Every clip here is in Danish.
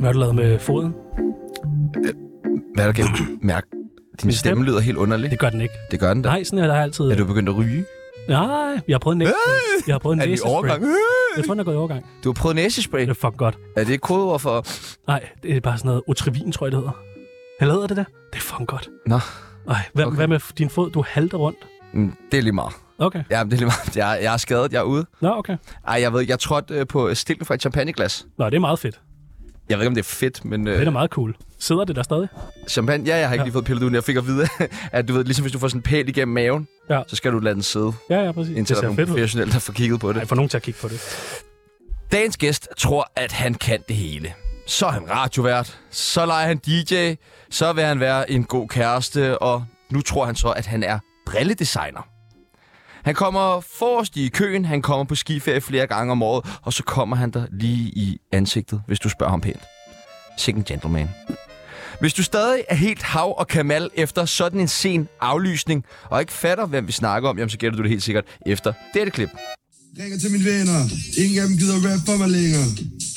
Hvad har du lavet med foden? Hvad er der galt? Mærk. Din Min stemme stemme? lyder helt underlig. Det gør den ikke. Det gør den da. Nej, sådan er der altid. Er du begyndt at ryge? Nej, jeg har prøvet en næse. Øh! Jeg har prøvet en Er det i næsespray. overgang? Øh! Jeg tror, den er gået i overgang. Du har prøvet næsespray. Det er fucking godt. Er det et kodeord for... Nej, det er bare sådan noget otrivin, tror jeg, det hedder. Eller hedder det der? Det er fucking godt. Nå, Ej, hvad, Okay. okay. hvad med din fod? Du halter rundt. mm, det er lige meget. Okay. Ja, det er lige meget. Jeg, jeg er skadet, jeg er ude. Nå, okay. Ej, jeg ved ikke, jeg trådte øh, på stilken fra et champagneglas. Nå, det er meget fedt. Jeg ved ikke, om det er fedt, men Det er øh, da meget cool. Sidder det der stadig? champagne... Ja, jeg har ikke Ja. lige fået pillet ud, men jeg fik at vide, at du ved, ligesom hvis du får sådan en pæl igennem maven, Ja. så skal du lade den sidde, Ja, ja, præcis. indtil det der er ser nogle fedt ud. professionelle, der får kigget på det. Jeg får nogen til at kigge på det. Dagens gæst tror, at han kan det hele. Så er han radiovært, så leger han DJ, så vil han være en god kæreste, og nu tror han så, at han er brilledesigner. Han kommer forrest i køen, han kommer på skiferie flere gange om året, og så kommer han der lige i ansigtet, hvis du spørger ham pænt. Sikke en gentleman. Hvis du stadig er helt hav og kamal efter sådan en sen aflysning, og ikke fatter, hvem vi snakker om, jamen så gætter du det helt sikkert efter dette klip. Ringer til mine venner. Ingen af dem gider rap for mig længere.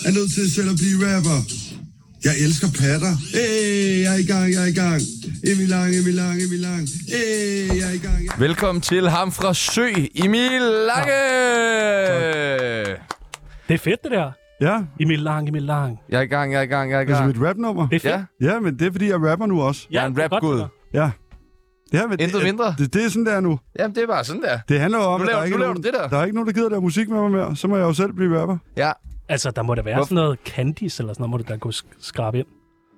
Er nødt til selv at blive rapper. Jeg elsker patter. Hey, jeg er i gang, jeg er i gang. Emil Lang, Emil Lang, Emil Lang. Hey, jeg er i gang. Jeg... Velkommen til ham fra Sø, Emil Lange! Det er fedt, det der. Ja, Emil Lang, Emil Lang. Jeg er i gang, jeg er i gang, jeg er i altså gang. mit rapnummer. Det er fedt. Ja, Ja, men det er, fordi jeg rapper nu også. Jeg er en det godt, rapgud. det der. Ja. Det her, men Intet det, mindre. Det, det, er sådan der nu. jamen det er bare sådan der. Det handler jo om, Nu laver- at der, nu ikke er laver nogen, du det der. der er ikke nogen, der gider at lave musik med mig mere. Så må jeg jo selv blive rapper. Ja, Altså, der må da være Hvorfor? sådan noget candies eller sådan noget, må du da gå sk- skrabe ind.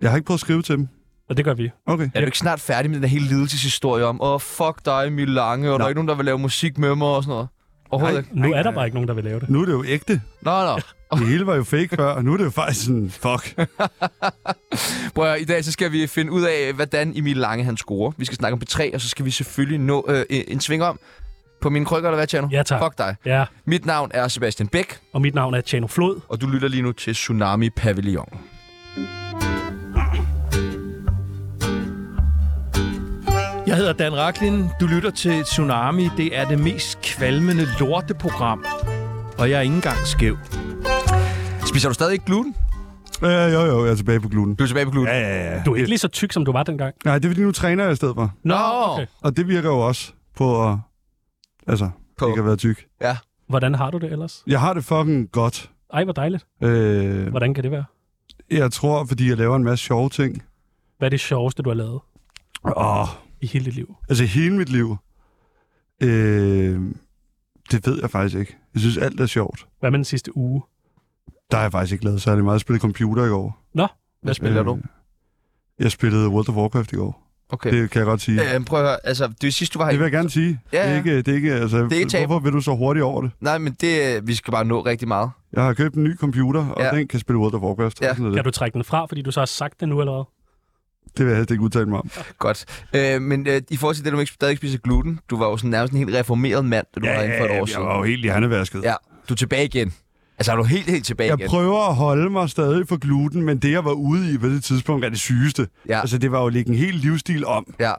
jeg har ikke prøvet at skrive til dem. Og det gør vi. Okay. er du ikke snart færdig med den der hele lidelseshistorie om, åh, oh, fuck dig, Emil Lange, og der er ikke nogen, der vil lave musik med mig og sådan noget? Overhovedet ikke. Nu er der bare ikke nogen, der vil lave det. Nu er det jo ægte. Nå, nå. Det hele var jo fake før, og nu er det jo faktisk sådan, fuck. Prøv at, høre, i dag så skal vi finde ud af, hvordan Emil Lange han scorer. Vi skal snakke om P3, og så skal vi selvfølgelig nå øh, en sving om på mine krykker, eller hvad, Tjerno? Ja, tak. Fuck dig. Ja, Mit navn er Sebastian Bæk, og mit navn er Tjano Flod. og du lytter lige nu til Tsunami Pavillon. Jeg hedder Dan Raklin. Du lytter til Tsunami. Det er det mest kvalmende lorteprogram. Og jeg er ikke engang skæv. Spiser du stadig ikke gluten? Ja, Øh, jo, jo, jeg er tilbage på gluten. Du er tilbage på gluten. Ja, ja, ja. Du er ikke lige så tyk, som du var dengang. Nej, det er fordi, nu træner jeg i stedet for. Nå, Og det virker jo også på at... Altså, På- på. ikke at være tyk. Hvordan har du det ellers? Jeg har det fucking godt. Ej, hvor dejligt. Øh, Hvordan kan det være? jeg tror, fordi jeg laver en masse sjove ting. Hvad er det sjoveste, du har lavet Åh, i hele dit liv? altså hele mit liv. Øh, det ved jeg faktisk ikke. Jeg synes, alt er sjovt. Hvad med den sidste uge? Der har jeg faktisk ikke lavet særlig meget. Jeg spillede computer i går. Hvad spiller Øh, du? Jeg spillede World of Warcraft i går. Okay. Det kan jeg godt sige. Øh, prøv at høre, altså, det er sidst, du var Det vil her. jeg gerne sige. Ja, Det ja. er ikke, det er ikke, altså, er ikke tabu. hvorfor vil du så hurtigt over det? Nej, men det, øh, vi skal bare nå rigtig meget. Jeg har købt en ny computer, og Ja. ja. den kan spille World of Warcraft. Ja. Ja. Sådan er Kan det. du trække den fra, fordi du så har sagt det nu eller hvad? det vil jeg helst ikke udtale mig om. Godt. Øh, men øh, i forhold til det, du ikke, stadig ikke spiser gluten, du var jo sådan nærmest en helt reformeret mand, da du var herinde for et år jeg siden. var jo helt hjernevasket. Ja, du er tilbage igen. Altså, er du helt, helt tilbage Jeg igen? prøver at holde mig stadig for gluten, men det, jeg var ude i på det tidspunkt, er det sygeste. Ja. Altså, det var jo at lægge en hel livsstil om. Ja.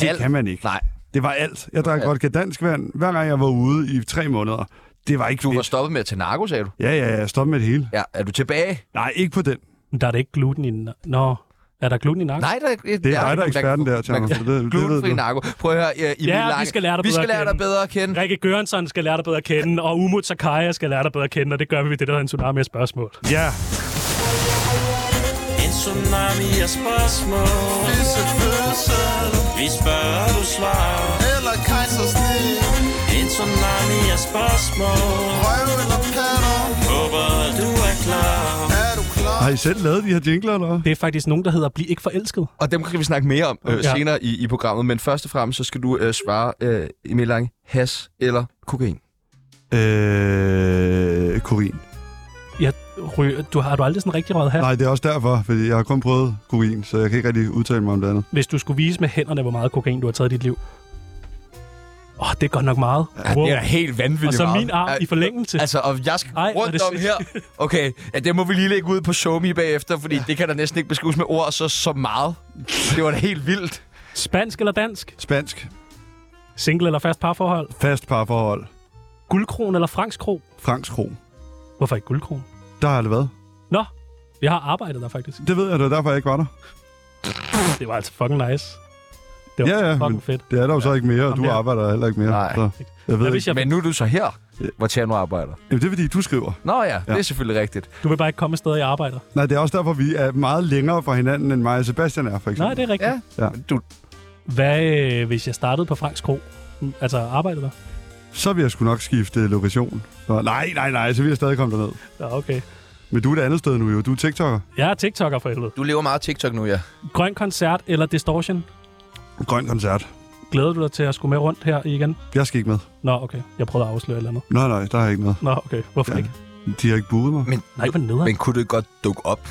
Det Alt. kan man ikke. Nej, Det var alt. Jeg drak Alt. vodka dansk vand, hver gang jeg var ude i tre måneder. Det var ikke du var fedt. stoppet med at tage narko, sagde du. Ja, ja, ja. Stop med det hele. Ja, er du tilbage? Nej, ikke på den. Men Der er det ikke gluten i... na- Nå, er der gluten i nakken? Nej, der er, det dig, der er eksperten der, Tjerno, så det- det ved Glutenfri du. narko. Prøv at høre, øh, Emil Ja, vi Lange, skal lære dig vi bedre skal at lære dig kende. bedre at kende. Rikke Gørensson skal lære dig bedre at kende, og Umut Sakaya skal lære dig bedre at kende, og det gør vi ved det, der hedder en tsunami af spørgsmål. Ja. En tsunami af spørgsmål Disse fødsel Vi spørger, du svarer eller kejsersnit. En tsunami af spørgsmål Røv eller patter. Håber, du er klar Er du klar? Har I selv lavet de her jingler, eller hvad? Det er faktisk nogen, der hedder Bliv ikke forelsket. Og dem kan vi snakke mere om øh, Ja. senere i, i programmet. Men først og fremmest, så skal du øh, svare, øh, Emil Lange, has eller kokain. Øh, korin. Jeg ryger, du, har du aldrig sådan rigtig røget her? Nej, det er også derfor, fordi jeg har kun prøvet korin, så jeg kan ikke rigtig udtale mig om det andet. Hvis du skulle vise med hænderne, hvor meget kokain du har taget i dit liv. Åh, oh, det er godt nok meget. Ja, wow. Det er da helt vanvittigt og så meget. min arm Al- i forlængelse. Altså, og jeg skal Ej, Ej, hvor er rundt det om her. Okay, ja, det må vi lige lægge ud på Shomi bagefter, fordi ja. det kan der næsten ikke beskrives med ord så, så meget. Det var da helt vildt. Spansk eller dansk? Spansk. Single eller fast parforhold? Fast parforhold. Guldkron eller fransk kro? Franks Kro. Hvorfor ikke guldkron? Der har det været. Nå, Jeg har arbejdet der faktisk. Det ved jeg, det er derfor, jeg ikke var der. Det var altså fucking nice. Det var Ja, ja, fucking men- fedt. Det er der jo så ikke mere, og Jamen, du ja. arbejder heller ikke mere. Nej. Så jeg ved Jeg ikke. vidste, jeg, Men nu er du så her, hvor Tjerno arbejder. Jamen, det er fordi, du skriver. Nå ja, det Ja. er selvfølgelig rigtigt. du vil bare ikke komme et sted, jeg arbejder. Nej, det er også derfor, vi er meget længere fra hinanden, end mig og Sebastian er, for eksempel. Nej, det er rigtigt. Ja. Ja. Ja. Men Du, Hvad øh, hvis jeg startede på Franks Kro? Mm, Altså arbejdet der? Så vil jeg sgu nok skifte lokation. Så, nej, nej, nej, så vil jeg stadig komme derned. Ja, okay. Men du er et andet sted nu jo. Du er TikToker. Jeg er TikToker for helvede. du lever meget TikTok nu, ja. Grøn koncert eller Distortion? Grøn koncert. Glæder du dig til at skulle med rundt her igen? Jeg skal ikke med. Nå, okay. Jeg prøvede at afsløre et eller andet. Nej, nej, der er ikke noget. Nå, okay. Hvorfor ja. Ja. ikke? De har ikke budet mig. Men, Nej, hvor nederen. men kunne du ikke godt dukke op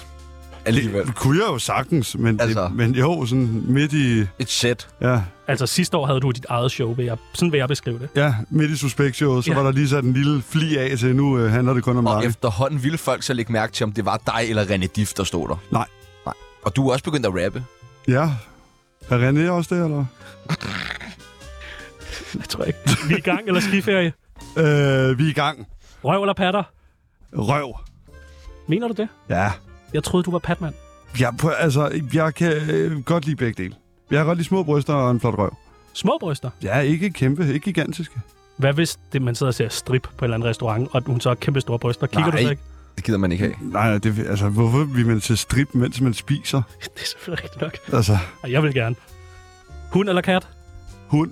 alligevel? Det kunne jeg jo sagtens, men, altså. Altså. det, men jo, sådan midt i... Et sæt. Ja, Altså, sidste år havde du dit eget show, vil jeg, sådan vil jeg beskrive det. ja midt i suspektshowet, så Ja. ja. var der lige sat en lille fli af til, nu øh, handler det kun om Og mig. efterhånden ville folk så lægge mærke til, om det var dig eller René Diff, der stod der. Nej. Nej. Og du er også begyndt at rappe. Ja. Er René også det, eller? Jeg tror ikke. Vi er i gang, eller skiferie? Øh, vi er i gang. Røv eller patter? Røv. Mener du det? Ja. Jeg troede, du var patmand. Jeg, prøver, altså, jeg kan øh, godt lide begge dele. Jeg kan godt lide små bryster og en flot røv. Små bryster. Ja, ikke kæmpe, ikke gigantiske. Hvad hvis det, man sidder og ser strip på en eller anden restaurant, og hun så har kæmpe store bryster? Kigger Nej. du så ikke? Det gider man ikke have. Nej, nej, det, altså, hvorfor vil man til strip, mens man spiser? Det er selvfølgelig rigtigt nok. Altså, Og jeg vil gerne. Hund eller kat? hund,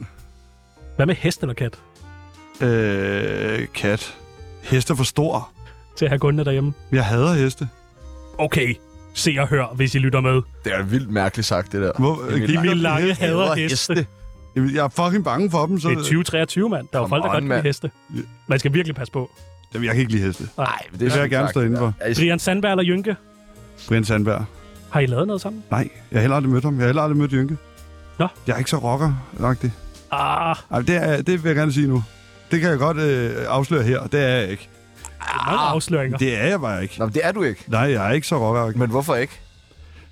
Hvad med hest eller kat? øh, kat, heste er for stor. Til at have gundene derhjemme. Jeg hader heste. Okay, se og hør, hvis I lytter med. Det er vildt mærkeligt sagt, det der. Hvor- Emil giv mig- Emil Jeg Lange Lange hader heste. Jamen, Jeg er fucking bange for dem, så... Det er 2023, mand. Der er jo Come folk, der on, godt kan lide mand. heste. Man skal virkelig passe på. Jamen, jeg kan ikke lide heste. Nej, men det Det vil jeg sygt gerne sagt, stå det inde der. for. Altså, Brian Sandberg eller Jynke? Brian Sandberg. Har I lavet noget sammen? Nej, jeg har heller aldrig mødt ham. Jeg har heller aldrig mødt Jynke. Nå. Jeg er ikke så rocker-agtig. Ah, Ej, det, er, det vil jeg gerne sige nu. Det kan jeg godt øh, afsløre her. Det er jeg ikke. mange afsløringer. Det er jeg bare ikke. Nå, men det er du ikke. Nej, jeg er ikke så rocker Men hvorfor ikke?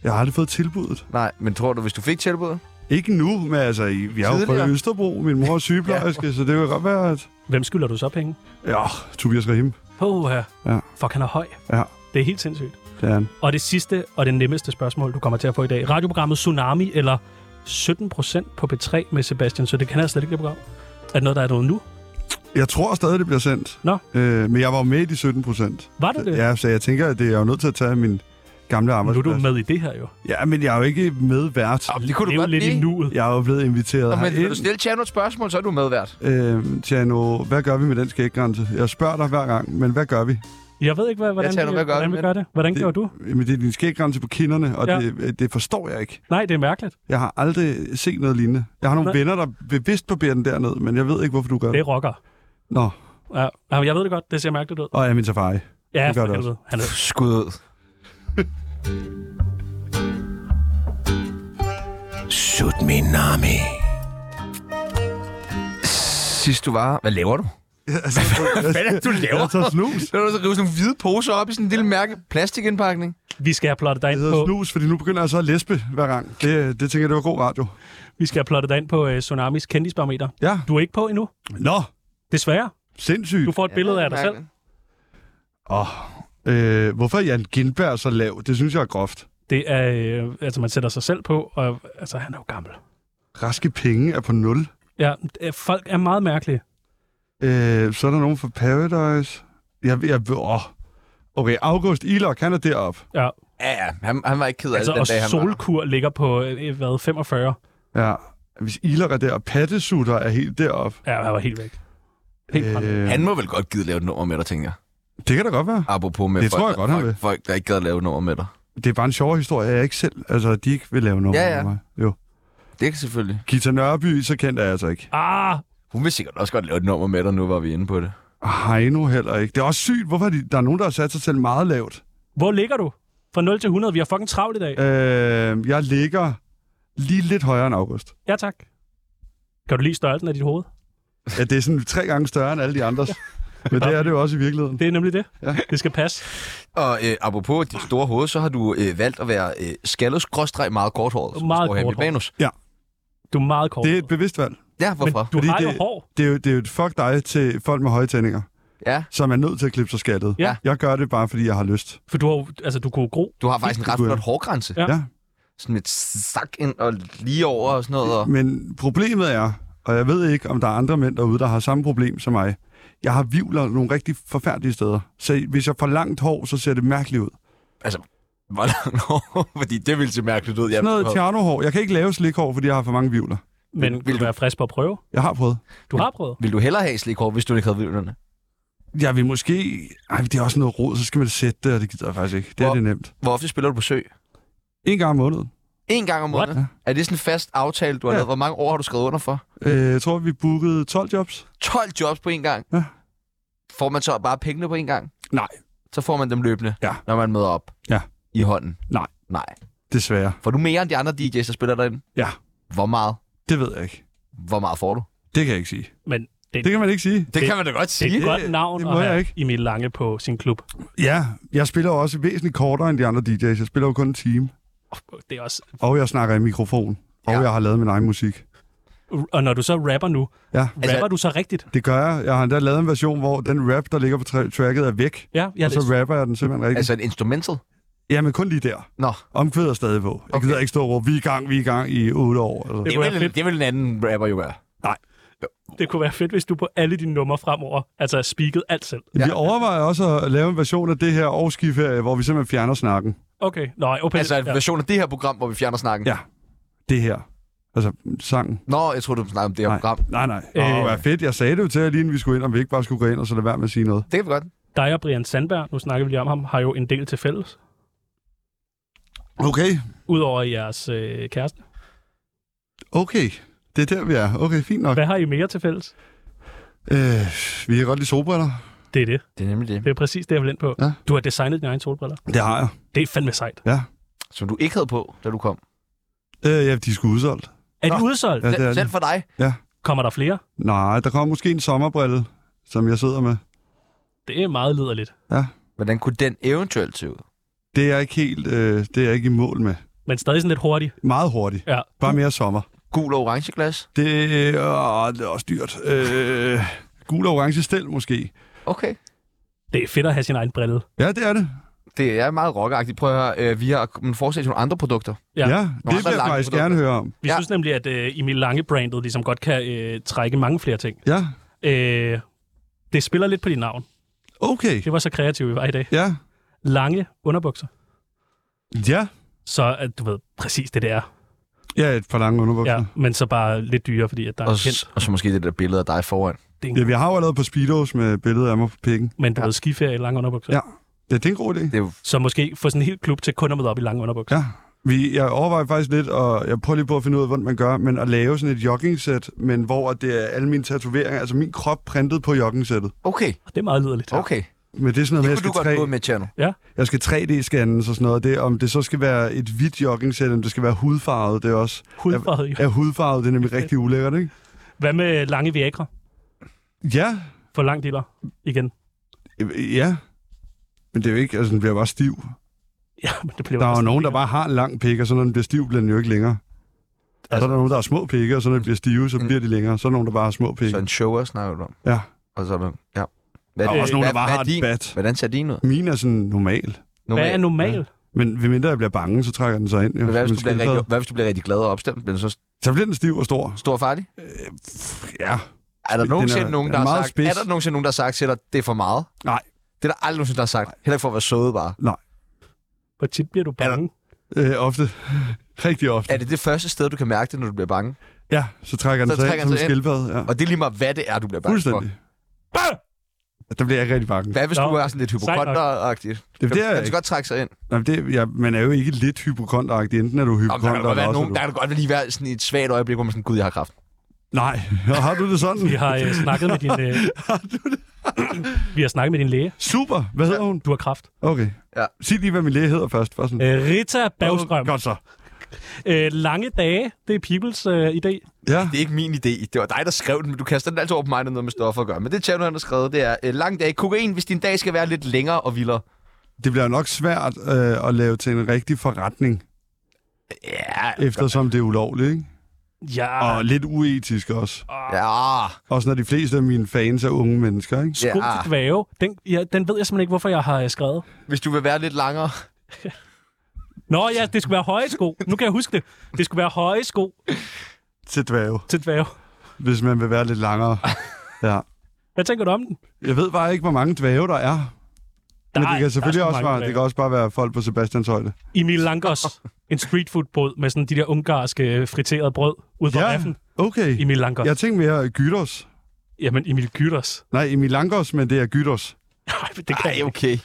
Jeg har aldrig fået tilbuddet. Nej, men tror du, hvis du fik tilbuddet? Ikke nu, men altså, i- vi er jo fra Tidligere. Østerbro. Min mor er sygeplejerske, ja. så det vil godt være, at... Hvem skylder du så penge? Ja, Tobias Rahim. Åh, ja. Ja. Fuck, han er høj. Ja, Det er helt sindssygt. det er han. Og det sidste og det nemmeste spørgsmål, du kommer til at få i dag. Radioprogrammet Tsunami eller 17% på P3 med Sebastian, så det kan jeg slet ikke det program. Er det noget, der er noget nu? Jeg tror stadig, det bliver sendt. Nå. Øh, men jeg var jo med i de 17 procent. Var du det? Ja, så jeg tænker, at det er jeg jo nødt til at tage min Men gamle nu er arbejdsplads. du med i det her jo. Ja, men jeg er jo ikke medvært. Jamen, det kunne Lev lidt i nuet. Jeg er jo blevet inviteret Nå, men vil du herind. stille Tjerno et spørgsmål, så er du medvært. Øh, Tjano, hvad gør vi med den skæggrænse? Jeg spørger dig hver gang, men hvad gør vi? Jeg ved ikke, hvad, hvordan, tager nu, vi- hvad gør hvordan du vi med gør det. Hvordan Det- gjorde du? Men det er din skæggrænse på kinderne, og Ja. ja. det, det forstår jeg ikke. Nej, det er mærkeligt. Jeg har aldrig set noget lignende. Jeg har nogle Nej. venner, der bevidst barberer den derned, men jeg ved ikke, hvorfor du gør Det det. er rocker. Nå, Ja, jamen, jeg ved det godt. Det ser mærkeligt ud. og er min safari. Ja, det gør for det også. helvede. Han er Skud ud. Shoot me, Nami. Sidst du var... Hvad laver du? Altså, hvad er det, du laver? Jeg tager snus. Så er du så rive sådan nogle hvide poser op i sådan en lille mærke plastikindpakning. Vi skal have plottet dig Jeg ind hedder på, snus, fordi nu begynder jeg så at lesbe hver gang. Det, det tænker jeg, det var god radio. vi skal have plottet dig ind på uh, Tsunamis kendisbarometer. Ja. Du er ikke på endnu. Nå, Desværre. sindssygt. Du får et billede af dig selv. Åh, øh, hvorfor er Jan Gindberg så lav? Det synes jeg er groft. Det er, øh, altså man sætter sig selv på, og altså han er jo gammel. Raske penge er på nul. Ja, øh, folk er meget mærkelige. Øh, så er der nogen fra Paradise. Jeg, jeg, åh. Okay, August Ilok, han er deroppe. Ja, Ja, ja. Han, han var ikke ked af altså, altså, den og dag, han var. solkur ligger på, øh, hvad, 45? Ja. Hvis Ilok er deroppe, Pattesutter er helt deroppe. Ja, han var helt væk. Helt øh, der. Han må vel godt gide lave et nummer med dig, tænker jeg. det kan da godt være. Apropos med Det folk, tror jeg godt, han folk, vil. folk, der ikke gad lave et nummer med dig. Det er bare en sjov historie, jeg ikke selv... Altså, de ikke vil lave noget Ja, ja. med mig. Jo. Det kan selvfølgelig. Gita Nørby, så kendt er jeg altså ikke. Ah, Hun vil sikkert også godt lave et nummer med dig, nu var vi inde på det. Og Heino heller ikke. Det er også sygt, hvorfor er de, der er nogen, der har sat sig selv meget lavt. hvor ligger du? Fra 0 til 100, vi har fucking travlt i dag. Øh, jeg ligger lige lidt højere end August. Ja, tak. Kan du lide størrelsen af dit hoved? Ja, det er sådan tre gange større end alle de andres. Men det er det jo også i virkeligheden. Det er nemlig det. Ja. Ja. Det skal passe. Og øh, apropos dit store hoved, så har du øh, valgt at være øh, skaldet skråstreg meget korthåret. som Meget der står her i mit korthåret. manus. Du er meget kort. Det er et bevidst valg. Ja, Men hvorfor? du Fordi har jo det- hår. Det er jo, det er jo et fuck dig til folk med høje tændinger. Ja. som er nødt til at klippe sig skattet. Ja. Jeg gør det bare, fordi jeg har lyst. For du, har, jo- altså, du kunne jo gro. Du har faktisk en ret Fint, flot hårgrænse. Ja. Ja. Sådan et sak ind og lige over og sådan noget. Og... Men problemet er, og jeg ved ikke, om der er andre mænd derude, der har samme problem som mig. Jeg har vivler nogle rigtig forfærdelige steder. Så hvis jeg får langt hår, så ser det mærkeligt ud. Altså, hvor langt hår? Fordi det ville se mærkeligt ud. Sådan noget ved- tjernohår. Jeg kan ikke lave slikhår, fordi jeg har for mange vivler. Men vil, vil du være frisk på at prøve? Jeg har prøvet. Du har prøvet. Vil du hellere have slik hår, hvis du ikke havde vilderne? Jeg vil måske... Ej, det er også noget rod, så skal man sætte det, og det gider jeg faktisk ikke. Det er Hvor- det nemt. Hvor ofte spiller du på sø? En gang om måneden. En gang om What? måneden? Er det sådan en fast aftale, du har Ja. lavet? Hvor mange år har du skrevet under for? Øh, jeg tror, vi bookede 12 jobs. 12 jobs på en gang? Ja. Får man så bare pengene på en gang? Nej. Så får man dem løbende, Ja. når man møder op Ja. i hånden? Nej. Nej. Desværre. Får du mere end de andre DJ's, der spiller derinde? Ja. Hvor meget? Det ved jeg ikke. Hvor meget får du? Det kan jeg ikke sige. Men det, Det det, kan man ikke sige. Det, kan man da godt det er et det- godt navn det at må jeg have ikke. Emil Lange på sin klub. Ja, jeg spiller jo også væsentligt kortere end de andre DJ's. Jeg spiller jo kun en time. Det er også, Og jeg snakker i mikrofon. Og Ja. jeg har lavet min egen musik. og når du så rapper nu, Ja, rapper altså, du så rigtigt? det gør jeg. Jeg har endda lavet en version, hvor den rap, der ligger på tra- tracket, er væk. Ja, jeg Og så læste- rapper jeg den simpelthen rigtigt. Altså... Altså et instrumental? Jamen kun lige der. Nå, Omkvædet er stadig på. Jeg Okay. gider ikke stå og råbe, vi er i gang, vi er i gang i otte år. Eller. Det det, kunne være vil, fedt. det vil en anden rapper jo gøre. Det kunne være fedt, hvis du på alle dine numre fremover, altså speakede alt selv. Ja. Vi overvejer også at lave en version af det her årskiferie, hvor vi simpelthen fjerner snakken. Okay, nej, okay. Altså en ja. version af det her program, hvor vi fjerner snakken. Ja. Det her. Altså, sangen. Nå, jeg troede, du snakkede om det her Nej, program. nej. nej. Øh. Det var fedt. Jeg sagde det jo til jer lige inden vi skulle ind, om vi ikke bare skulle gå ind og så lade være med at sige noget. Det kan vi godt. Dig og Brian Sandberg, nu snakker vi lige om ham, har jo en del til fælles. Okay. Udover jeres øh, kæreste. Okay. Det er der, vi er. Okay, fint nok. Hvad har I mere til fælles? Øh, vi har godt lige solbriller. Det er det. Det er nemlig det. Det er præcis det, jeg vil ind på. Ja. Du har designet dine egne solbriller. Det har jeg. Det er fandme sejt. Som du ikke havde på, da du kom. Øh, ja, de er sgu udsolgt. Er de Nå. udsolgt? Ja, Ja, det er Sel- det. selv for dig. Kommer der flere? Nej, der kommer måske en sommerbrille, som jeg sidder med. Det er meget liderligt. Hvordan kunne den eventuelt se ud? Det er jeg ikke helt, øh, det er jeg ikke i mål med. Men stadig sådan lidt hurtigt. Meget hurtigt. Ja. Bare mere sommer. Gul og orange glas? Det, øh, det er også dyrt. Øh, gul og orange stel måske. Okay. Det er fedt at have sin egen brille. Ja, det er det. Det er meget rockagtigt. Prøv at høre, øh, vi har kommet forslag til nogle andre produkter. Ja. Ja, ja det andre vil jeg lange faktisk produkter. gerne høre om. Vi ja. Ja. synes nemlig, at øh, Emil Lange-brandet ligesom godt kan øh, trække mange flere ting. Ja, Øh, det spiller lidt på dit navn. okay. Det var så kreativt, vi var i dag. Ja, Lange underbukser. ja. Så at du ved præcis det, det er. Ja, et par lange underbukser. Ja, Ja. men så bare lidt dyrere, fordi at der er Og, en kendt. s- og så måske det der billede af dig foran. Det ja, er en, vi har jo allerede på Speedos med billedet af mig på pikken. men du ja. ved, skiferie i lange underbukser. Ja. Ja, det er en god idé. Det er jo Så måske få sådan en hel klub til kun at møde op i lange underbukser. Ja. Vi, jeg overvejer faktisk lidt, og jeg prøver lige på at finde ud af, hvordan man gør, men at lave sådan et joggingsæt, men hvor at det er alle mine tatoveringer, altså min krop printet på joggingsættet. Okay, Det er meget liderligt. okay. Men det er sådan Det noget kunne du med, godt at gå jeg ud med, Tjerno. skal, 3, jeg skal 3D-scannes og sådan noget. Det, om det så skal være et hvidt joggingsæt, om det skal være hudfarvet, det er også... Hudfarvet, jo. Ja, hudfarvet, det er nemlig rigtig ulækkert, ikke? Hvad med lange viagra? Ja, For langt dealer igen. ja. Men det er jo ikke, altså den bliver bare stiv. Ja, men det bliver Der er jo også- nogen, der bare har en lang pik, og så når den bliver stiv, bliver den jo ikke længere. Altså, så er der nogen, der har små pikke, og så når de bliver stive, Mm. så bliver de længere. Så er der nogen, der bare har små pikke. Så en shower snakker du om. Ja. Og så er der... Ja. Hvad, Der er også nogen, der bare Øh, hvad har er et din, bat. Hvordan ser din ud? Min er sådan normal. Hvad er normal? Men ved mindre jeg bliver bange, så trækker den sig ind. Jo, Men Hvad, som hvis en du bliver skildpadde. rigtig, hvad hvis du bliver rigtig glad og opstemt? Bliver du så Så bliver den stiv og stor. stor og farlig? Ja. Er der Den nogensinde er- nogen, den der er har meget sagt, spids. er der nogensinde nogen, der har sagt til dig, det er for meget? Nej. Det er der aldrig nogensinde, der har sagt. Heller ikke for at være søde bare. Hvor tit bliver du Er der- bange? Øh, ofte. rigtig ofte. Er det det første sted, du kan mærke det, når du bliver bange? Ja, så trækker den Så sig trækker ind som den en sig ind. skildpadde. Ja. Og det er lige meget, hvad det er, du bliver bange for. Fuldstændig. Der bliver jeg ikke rigtig bange. Hvad hvis Nå, du er sådan lidt sejt nok. hypokonderagtigt? Det, det er Kan jeg du ikke. godt trække sig ind? Jamen, det, ja, man er jo ikke lidt hypokonteragtig. Enten er du Nå, men der, kan hypokonter, der, eller være også nogen, er der du... kan godt lige være sådan i et svagt øjeblik, hvor man sådan, gud, jeg har kraft. Nej, har du det sådan? Vi har øh, snakket med din... Øh... Vi har snakket med din læge. Super. Hvad hedder hun? Du har kraft. Okay. Ja. Sig lige, hvad min læge hedder først. Bare sådan. Øh, Rita Bagstrøm. Godt så. Øh, lange dage, det er Peoples øh, idé. Ja. Det er ikke min idé. Det var dig, der skrev den, men du kaster den altid over på mig, når noget med stoffer at gøre. Men det Tjerno, han har skrevet, det er øh, lang dag. Kokain, hvis din dag skal være lidt længere og vildere. Det bliver jo nok svært øh, at lave til en rigtig forretning, Ja, eftersom det er ulovligt, ikke? Ja, Og lidt uetisk også. Ja, Også når de fleste af mine fans er unge mennesker, ikke? sko ja. til dvæve. Den, ja, den ved jeg simpelthen ikke, hvorfor jeg har øh, skrevet. Hvis du vil være lidt langere. Nå ja, det skulle være høje sko. Nu kan jeg huske det. Det skulle være høje sko Til dværge, til dvæve. hvis man vil være lidt langere. Ja. Hvad tænker du om den? Jeg ved bare ikke, hvor mange dvæve der er. Men Der er- det der er kan selvfølgelig sgu også mange være, dværge. det kan også bare være folk på Sebastians højde. Emil Langers. En streetfoodbrød med sådan de der ungarske friterede brød ude på ja. Ja, raffen. okay. Emil Langers. Ja. Jeg tænkte mere Gyros. Jamen, Emil Gytters. Nej, Emil Langos, men det er Gyros. Nej, det kan Ej, jeg ikke. okay.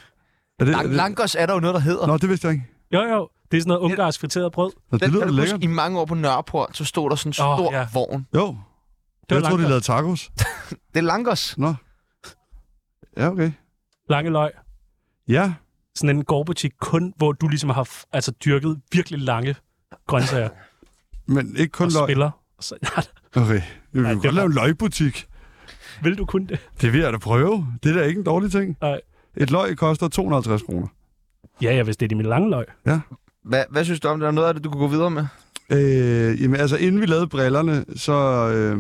Er det, er Lang, det- langos er der jo noget, der hedder. Nå, det vidste jeg ikke. Jo, jo. Det er sådan noget ungarsk friteret brød. Nå, det Den lyder kan du lækkert. huske, i mange år på Nørreport, så stod der sådan en Åh, stor ja. vogn. Jo, var jeg troede, de langos. lavede tacos. Det er langos. Nå. Ja, okay. Lange løg. Ja, Sådan en gårdbutik kun, hvor du ligesom har f- altså, dyrket virkelig lange grøntsager men ikke kun og løg. spiller. Så, Okay, vi Nej, vil det godt var- lave en løgbutik. vil du kun det? Det vil jeg da prøve. Det er da ikke en dårlig ting. Nej. Et løg koster 250 kroner. Ja, ja, hvis det er de mine lange løg. Hvad, hvad synes du om det? Er der noget af det, du kunne gå videre med? Øh, jamen altså, inden vi lavede brillerne, så øh,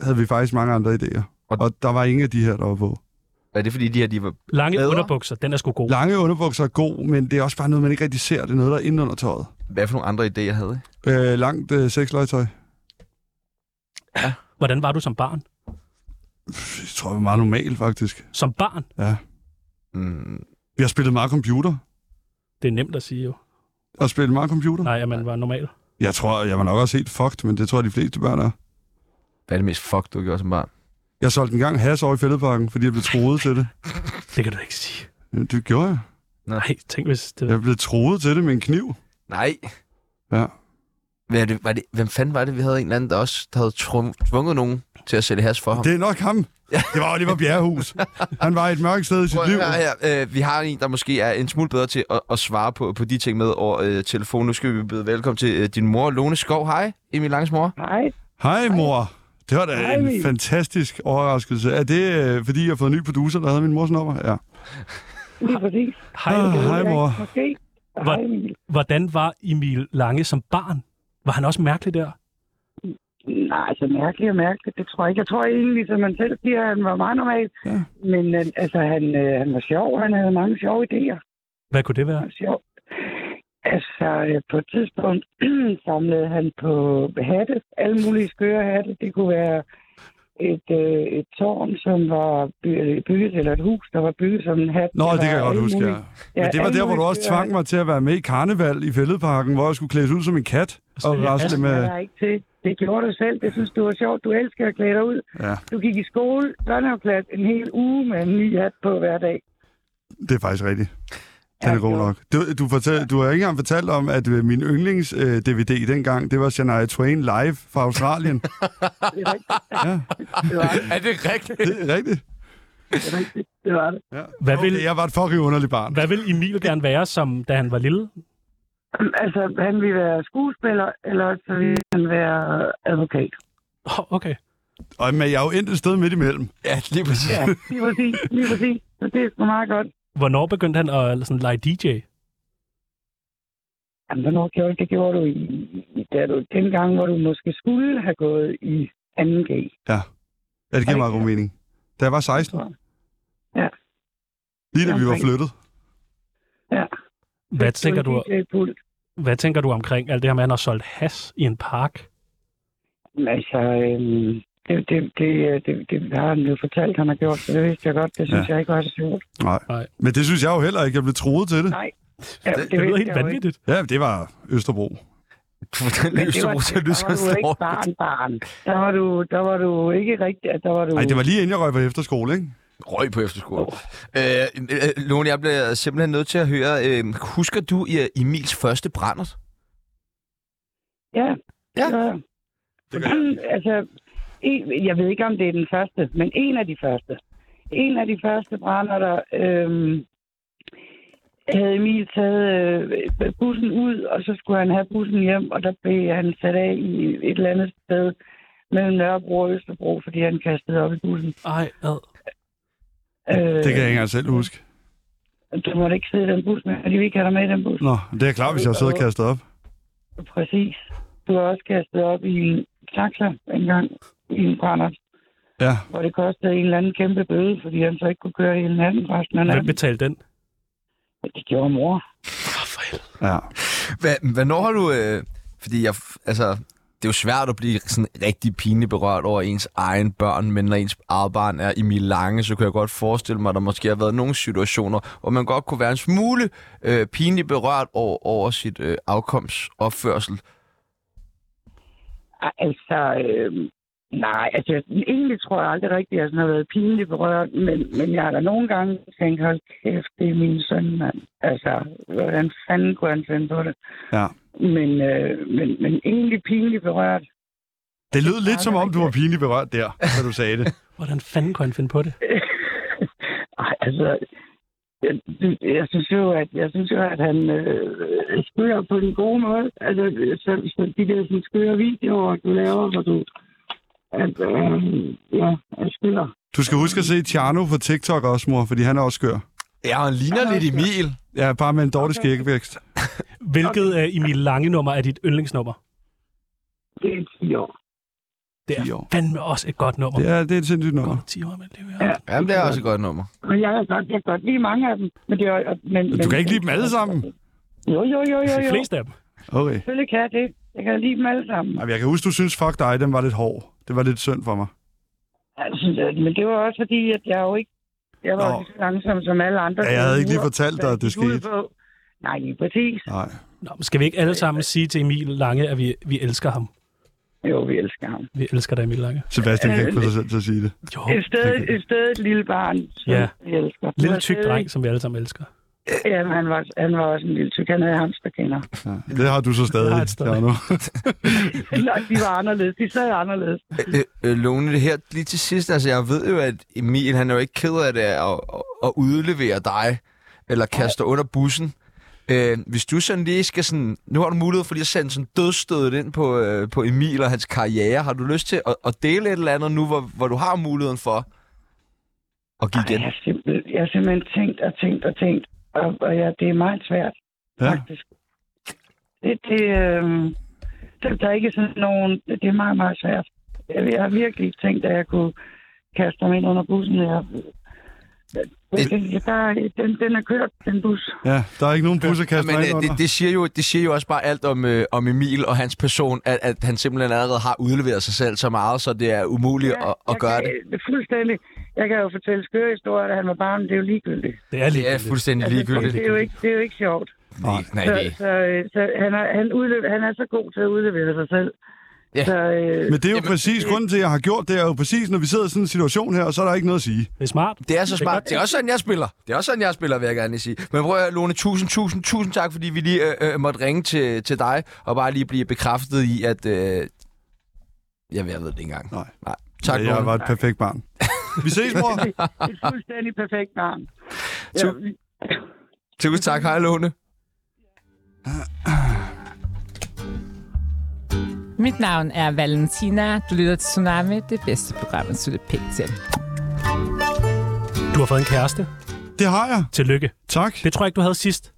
havde vi faktisk mange andre idéer. Og- Og, og der var ingen af de her, der var på. Er det fordi, de her de var... Lange Bedre. Bedre. underbukser, den er sgu god. Lange underbukser er god, men det er også bare noget, man ikke rigtig ser. Det er noget, der er inde under tøjet. Hvad for nogle andre idéer havde I? Øh, langt øh, sexløgetøj. Hvordan var du som barn? Det tror jeg var meget normalt, faktisk. Som barn? Ja. Mm, Vi har spillet meget computer. Det er nemt at sige jo. Og spillet meget computer. Nej, at man var normal. Jeg tror, jeg var nok også helt fucked, men det tror jeg, de fleste børn er. hvad er det mest fuck, du har gjort som barn? Jeg solgte en gang has over i fældeparken, fordi jeg blev troet til det. Det kan du ikke sige. Jamen, Det gjorde jeg. Nej, tænk hvis det... Jeg blev troet til det med en kniv. Nej. Ja. Hvad er det, var det, hvem fanden var det, vi havde en eller anden, der også der havde trum- tvunget nogen til at sælge has for ham? Det er nok ham. Det var Oliver Bjerrehus. Han var et mørkt sted i sit Prøv liv. at høre her. Øh, vi har en, der måske er en smule bedre til at, at svare på, på de ting med over øh, telefon. Nu skal vi byde velkommen til øh, din mor, Lone Skov. Hej, Emil Langes mor. Hej. Hej, mor. Det var da Hej, en Emil. fantastisk overraskelse. Er det, øh, fordi jeg har fået en ny producer, der havde min mors nummer? Ja. Lige præcis. Hej, Ah, Emil. hej, mor. Måske. Hvor- Hej, Emil. Hvordan var Emil Lange som barn? Var han også mærkelig der? Nej, så mærkeligt og mærkeligt, det tror jeg ikke. Jeg tror egentlig, som man selv siger, at han var meget normal. Ja. Men øh, altså, han, øh, han var sjov. Han havde mange sjove idéer. Hvad kunne det være? Han var sjov. Altså, øh, på et tidspunkt samlede han på hatte. Alle mulige skøre hatte. Det kunne være et, øh, et tårn, som var by- øh, bygget, eller et hus, der var bygget som en hat. Nå, det kan jeg var godt alle huske, ja. mulige- Men det var alle der, hvor du mulige også skøre tvang mig til at være med i karneval i fældeparken, hvor jeg skulle klædes ud som en kat og Ja. rasle Det med... er der ikke til. Det gjorde du selv. Det synes du var sjovt. Du elsker at klæde dig ud. Ja, Du gik i skole, børnehaveklasse, en hel uge med en ny hat på hver dag. det er faktisk rigtigt. Den Ja, er god det var- nok. Du, du, fortæl, du har ikke engang fortalt om, at øh, min yndlings-DVD dengang, det var Shania Twain live fra Australien. Det var ikke det. Var, ikke- Er det rigtigt? det er rigtigt. det, var ikke, det var det. Ja. Hvad Okay, vil- jeg var et fucking underligt barn. Hvad ville Emil gerne være, som, da han var lille? Altså, han ville være skuespiller, eller også så ville han være advokat. Oh, okay. Og, men jeg er jo endt et sted midt imellem. Ja, lige præcis. Ja. Lige præcis, lige præcis. Så det er sgu meget godt. Hvornår begyndte han at sådan, lege DJ? Jamen, hvornår gjorde du det? gjorde du, i, i, da du dengang, hvor du måske skulle have gået i 2G. Ja, det giver det meget god mening. Da jeg var 16. Ja. Lige da vi var Omkring. flyttet. Hvad tænker, du, du? hvad tænker du omkring alt det her med, at han har solgt has i en park? Jamen, Altså, øhm, det, det, det, øh, det, det har han jo fortalt, han har gjort, så det vidste jeg godt. Det synes ja. jeg ikke var så sjovt. Nej. Nej. Men det synes jeg jo heller ikke. Jeg blev troet til det. Nej. Ja, Det- Det, det lyder vidste helt jeg jo ikke. vanvittigt. Ja, det var Østerbro. Den Men det løste var, ro, så der lyser var du ikke barn, barn. Der var du, der var du ikke rigtig... Der var du... Nej, det var lige inden jeg røg på efterskole, ikke? Røg på efterskole. Øh, øh, Lone, jeg bliver simpelthen nødt til at høre. Øh, husker du øh, Emils første brændert? Ja. Ja. ja. Det altså, en, jeg ved ikke, om det er den første, men en af de første. En af de første brænder, der øhm, havde Emil taget øh, bussen ud, og så skulle han have bussen hjem, og der blev han sat af i et eller andet sted mellem Nørrebro og Østerbro, fordi han kastede op i bussen. Ej, ad. Øh, Det kan jeg ikke engang selv huske. Du Øh, måtte ikke sidde i den bus med, fordi vi ikke havde dig med i den bus. Nå, det er klart, hvis jeg sidder og kastet op. Præcis. Du har også kastet op i en taxa engang i en brænder, Ja. hvor det kostede en eller anden kæmpe bøde, fordi han så ikke kunne køre hele natten resten af Hvem natten. betalte den? Det gjorde mor. Ah, ja. Hvad, hvornår har du... Øh, fordi jeg, f- altså, det er jo svært at blive sådan rigtig pinligt berørt over ens egen børn, men når ens eget barn er i Milange, så kan jeg godt forestille mig, at der måske har været nogle situationer, hvor man godt kunne være en smule øh, pinligt berørt over, over sit øh, afkomstopførsel. Ej, Altså, øh, nej, altså, egentlig tror jeg aldrig rigtigt, at jeg sådan har været pinligt berørt, men, men jeg har da nogle gange tænkt, hold kæft, det er min søn, mand. Altså, hvordan fanden kunne han finde på det? Ja. Men, øh, men, men egentlig pinligt berørt. Det lød lidt som om, du var pinligt berørt der, da du sagde det. Hvordan fanden kunne han finde på det? Ej, altså, jeg, jeg synes jo, at, jeg synes jo, at han øh, skører på den gode måde. Altså, så, så de der sådan, skøre videoer, du laver, hvor du at, øh, ja, jeg skylder. Du skal huske at se Tjerno på TikTok også, mor, fordi han er også skør. Ja, han ligner lidt Emil. Ja, bare med en dårlig skæggevækst. Hvilket af Emil Lange nummer er dit yndlingsnummer? Det er 10 år. Det 10 er år. fandme også et godt nummer. Det er, det er et sindssygt nummer. 10 år, men det er jo... Ja. Jamen, det er også et godt nummer. Men jeg kan godt, jeg kan godt lide mange af dem. Men det er, men, Du kan ikke lide dem alle sammen. Altså, Jo, jo, jo, jo, De jo. fleste af dem. Okay. Selvfølgelig kan jeg det. Jeg kan lide dem alle sammen. Jamen, jeg kan huske, du synes, fuck dig, den var lidt hård. Det var lidt synd for mig. Altså, men det var også fordi, at jeg jo ikke... Jeg var Nå. jo lige så langsom som alle andre. Ja, jeg havde ikke lige uger, fortalt dig, der at det gik ud skete. på- Nej, lige præcis. Nej. Nå, men skal vi ikke alle sammen sige til Emil Lange, at vi, vi elsker ham? Jo, vi elsker ham. Vi elsker dig, Emil Lange. Sebastian kan ikke få sig selv til at sige det. Jo, Et sted, et sted et lille barn, som Ja. ja. vi elsker. lille Han tyk var dreng, som vi alle sammen elsker. stadig- Ja, men han var, han var også en lille tyk. Han havde hamsterkender. Ja. Det har du så Jeg har stadig, et stadig. Tjerno. Nej, de var anderledes. De sad anderledes. Øh, øh, Lone, det her lige til sidst, altså jeg ved jo, at Emil, han er jo ikke ked af det at, at, at udlevere dig, eller kaste dig under bussen. Øh, hvis du sådan lige skal sådan, nu har du mulighed for lige at sende sådan dødstødet ind på, øh, på Emil og hans karriere. Har du lyst til at, at dele et eller andet nu, hvor, hvor du har muligheden for at give Jeg igen? har, simpel, jeg har simpelthen tænkt og tænkt og tænkt. Og, og ja, det er meget svært, Ja. faktisk. Det, det, øh, der, der er ikke sådan nogen... Det er meget, meget svært. Jeg, jeg har virkelig tænkt, at jeg kunne kaste ham ind under bussen. Jeg, jeg, jeg, der, den, den er kørt, den bus. ja, der er ikke nogen busserkast Men ja, øh, det, det, siger jo, det siger jo også bare alt om, øh, om Emil og hans person, at, at han simpelthen allerede har udleveret sig selv så meget, så det er umuligt ja, at, at jeg gøre kan, det. det. Fuldstændig. Jeg kan jo fortælle skøre historier, da han var barn, det er jo ligegyldigt. Det er lige Det er fuldstændig det, ligegyldigt. det, er jo ikke, det er jo ikke sjovt. Nej, nej, så, det er så, øh, så, han, er, han, udlever, han er så god til at udlevere sig selv. Ja. Så, øh, Men det er jo præcis, grunden til, at jeg har gjort det, er jo præcis, når vi sidder i sådan en situation her, og så er der ikke noget at sige. Det er smart. Det er så godt. smart. Det er også sådan, jeg spiller. Det er også sådan, jeg spiller, vil jeg gerne lige sige. Men prøv at høre, Lone, tusind, tusind, tusind tak, fordi vi lige øh, øh, måtte ringe til, til dig, og bare lige blive bekræftet i, at... Øh, jeg, jeg ved det ikke engang. Nej. Nej. Tak, jeg Lone. var et perfekt barn. Vi ses, mor. et fuldstændig perfekt barn. Tu- Ja, Tusind tak. Hej, Lone. Mit navn er Valentina. Du lytter til Tsunami, det bedste program, at slutte pænt til. Du har fået en kæreste. Det har jeg. Tillykke. Tak. Det tror jeg ikke, du havde sidst.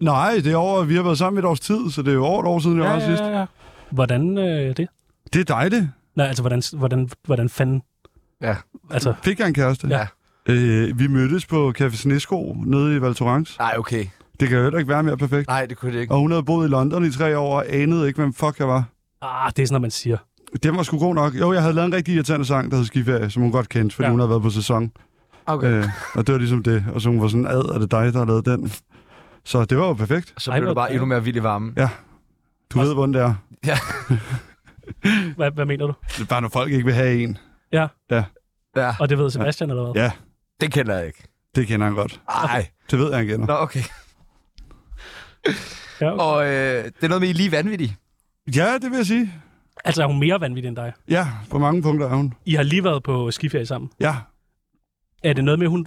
Nej, det er over, vi har været sammen et års tid, så det er jo over et år siden, jeg var sidst. ja. Hvordan øh, det? Det er dejligt. Nej, altså, hvordan, hvordan, hvordan fanden? Ja. Altså, Fik jeg en kæreste? Ja. Øh, vi mødtes på Café Snesko nede i Val Thorens. Nej, okay. Det kan jo heller ikke være mere perfekt. Nej, det kunne det ikke. Og hun havde boet i London i tre år og anede ikke, hvem fuck jeg var. ah, det er sådan, noget, man siger. Den var sgu god nok. Jo, jeg havde lavet en rigtig irriterende sang, der hed Skiferie, som hun godt kendte, fordi Ja. ja. hun havde været på sæson. Okay. Øh, og det var ligesom det. Og så hun var sådan, ad, er det dig, der har lavet den? Så det var jo perfekt. Så Ej, blev hvor- du bare endnu mere vild i varmen. Du ved, hvordan det er. Ja. Hvad, hvad mener du? Det er bare, når folk ikke vil have en. ja. Og det ved Sebastian eller hvad? Ja. Det kender jeg ikke. Det kender han godt. Nej. Det ved jeg, han kender. Nå, okay. Ja, okay. Og øh, det er noget med, I er lige vanvittige. Ja, det vil jeg sige. Altså, er hun mere vanvittig end dig? Ja, på mange punkter er hun. I har lige været på skiferie sammen. Ja, Er det noget med, at hun,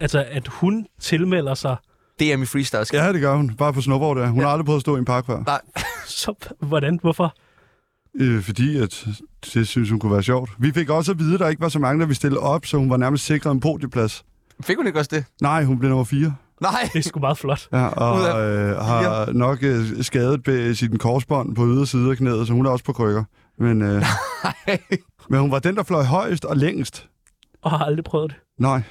altså, at hun tilmelder sig? Det er min freestyle. ja det gør hun. Bare på snowboard, ja. Hun har aldrig prøvet at stå i en park før. Nej. Så, hvordan? Hvorfor? Øh, fordi at det synes hun kunne være sjovt. Vi fik også at vide, at der ikke var så mange, der ville stille op, så hun var nærmest sikret en podieplads. Fik hun ikke også det? Nej, hun blev nummer 4. Nej, Det er sgu meget flot. Ja, Ud og øh, har nok øh, skadet be, sit korsbånd på ydersiden af knæet, så hun er også på krykker. Men, øh, men hun var den, der fløj højst og længst. Og har aldrig prøvet det. Nej,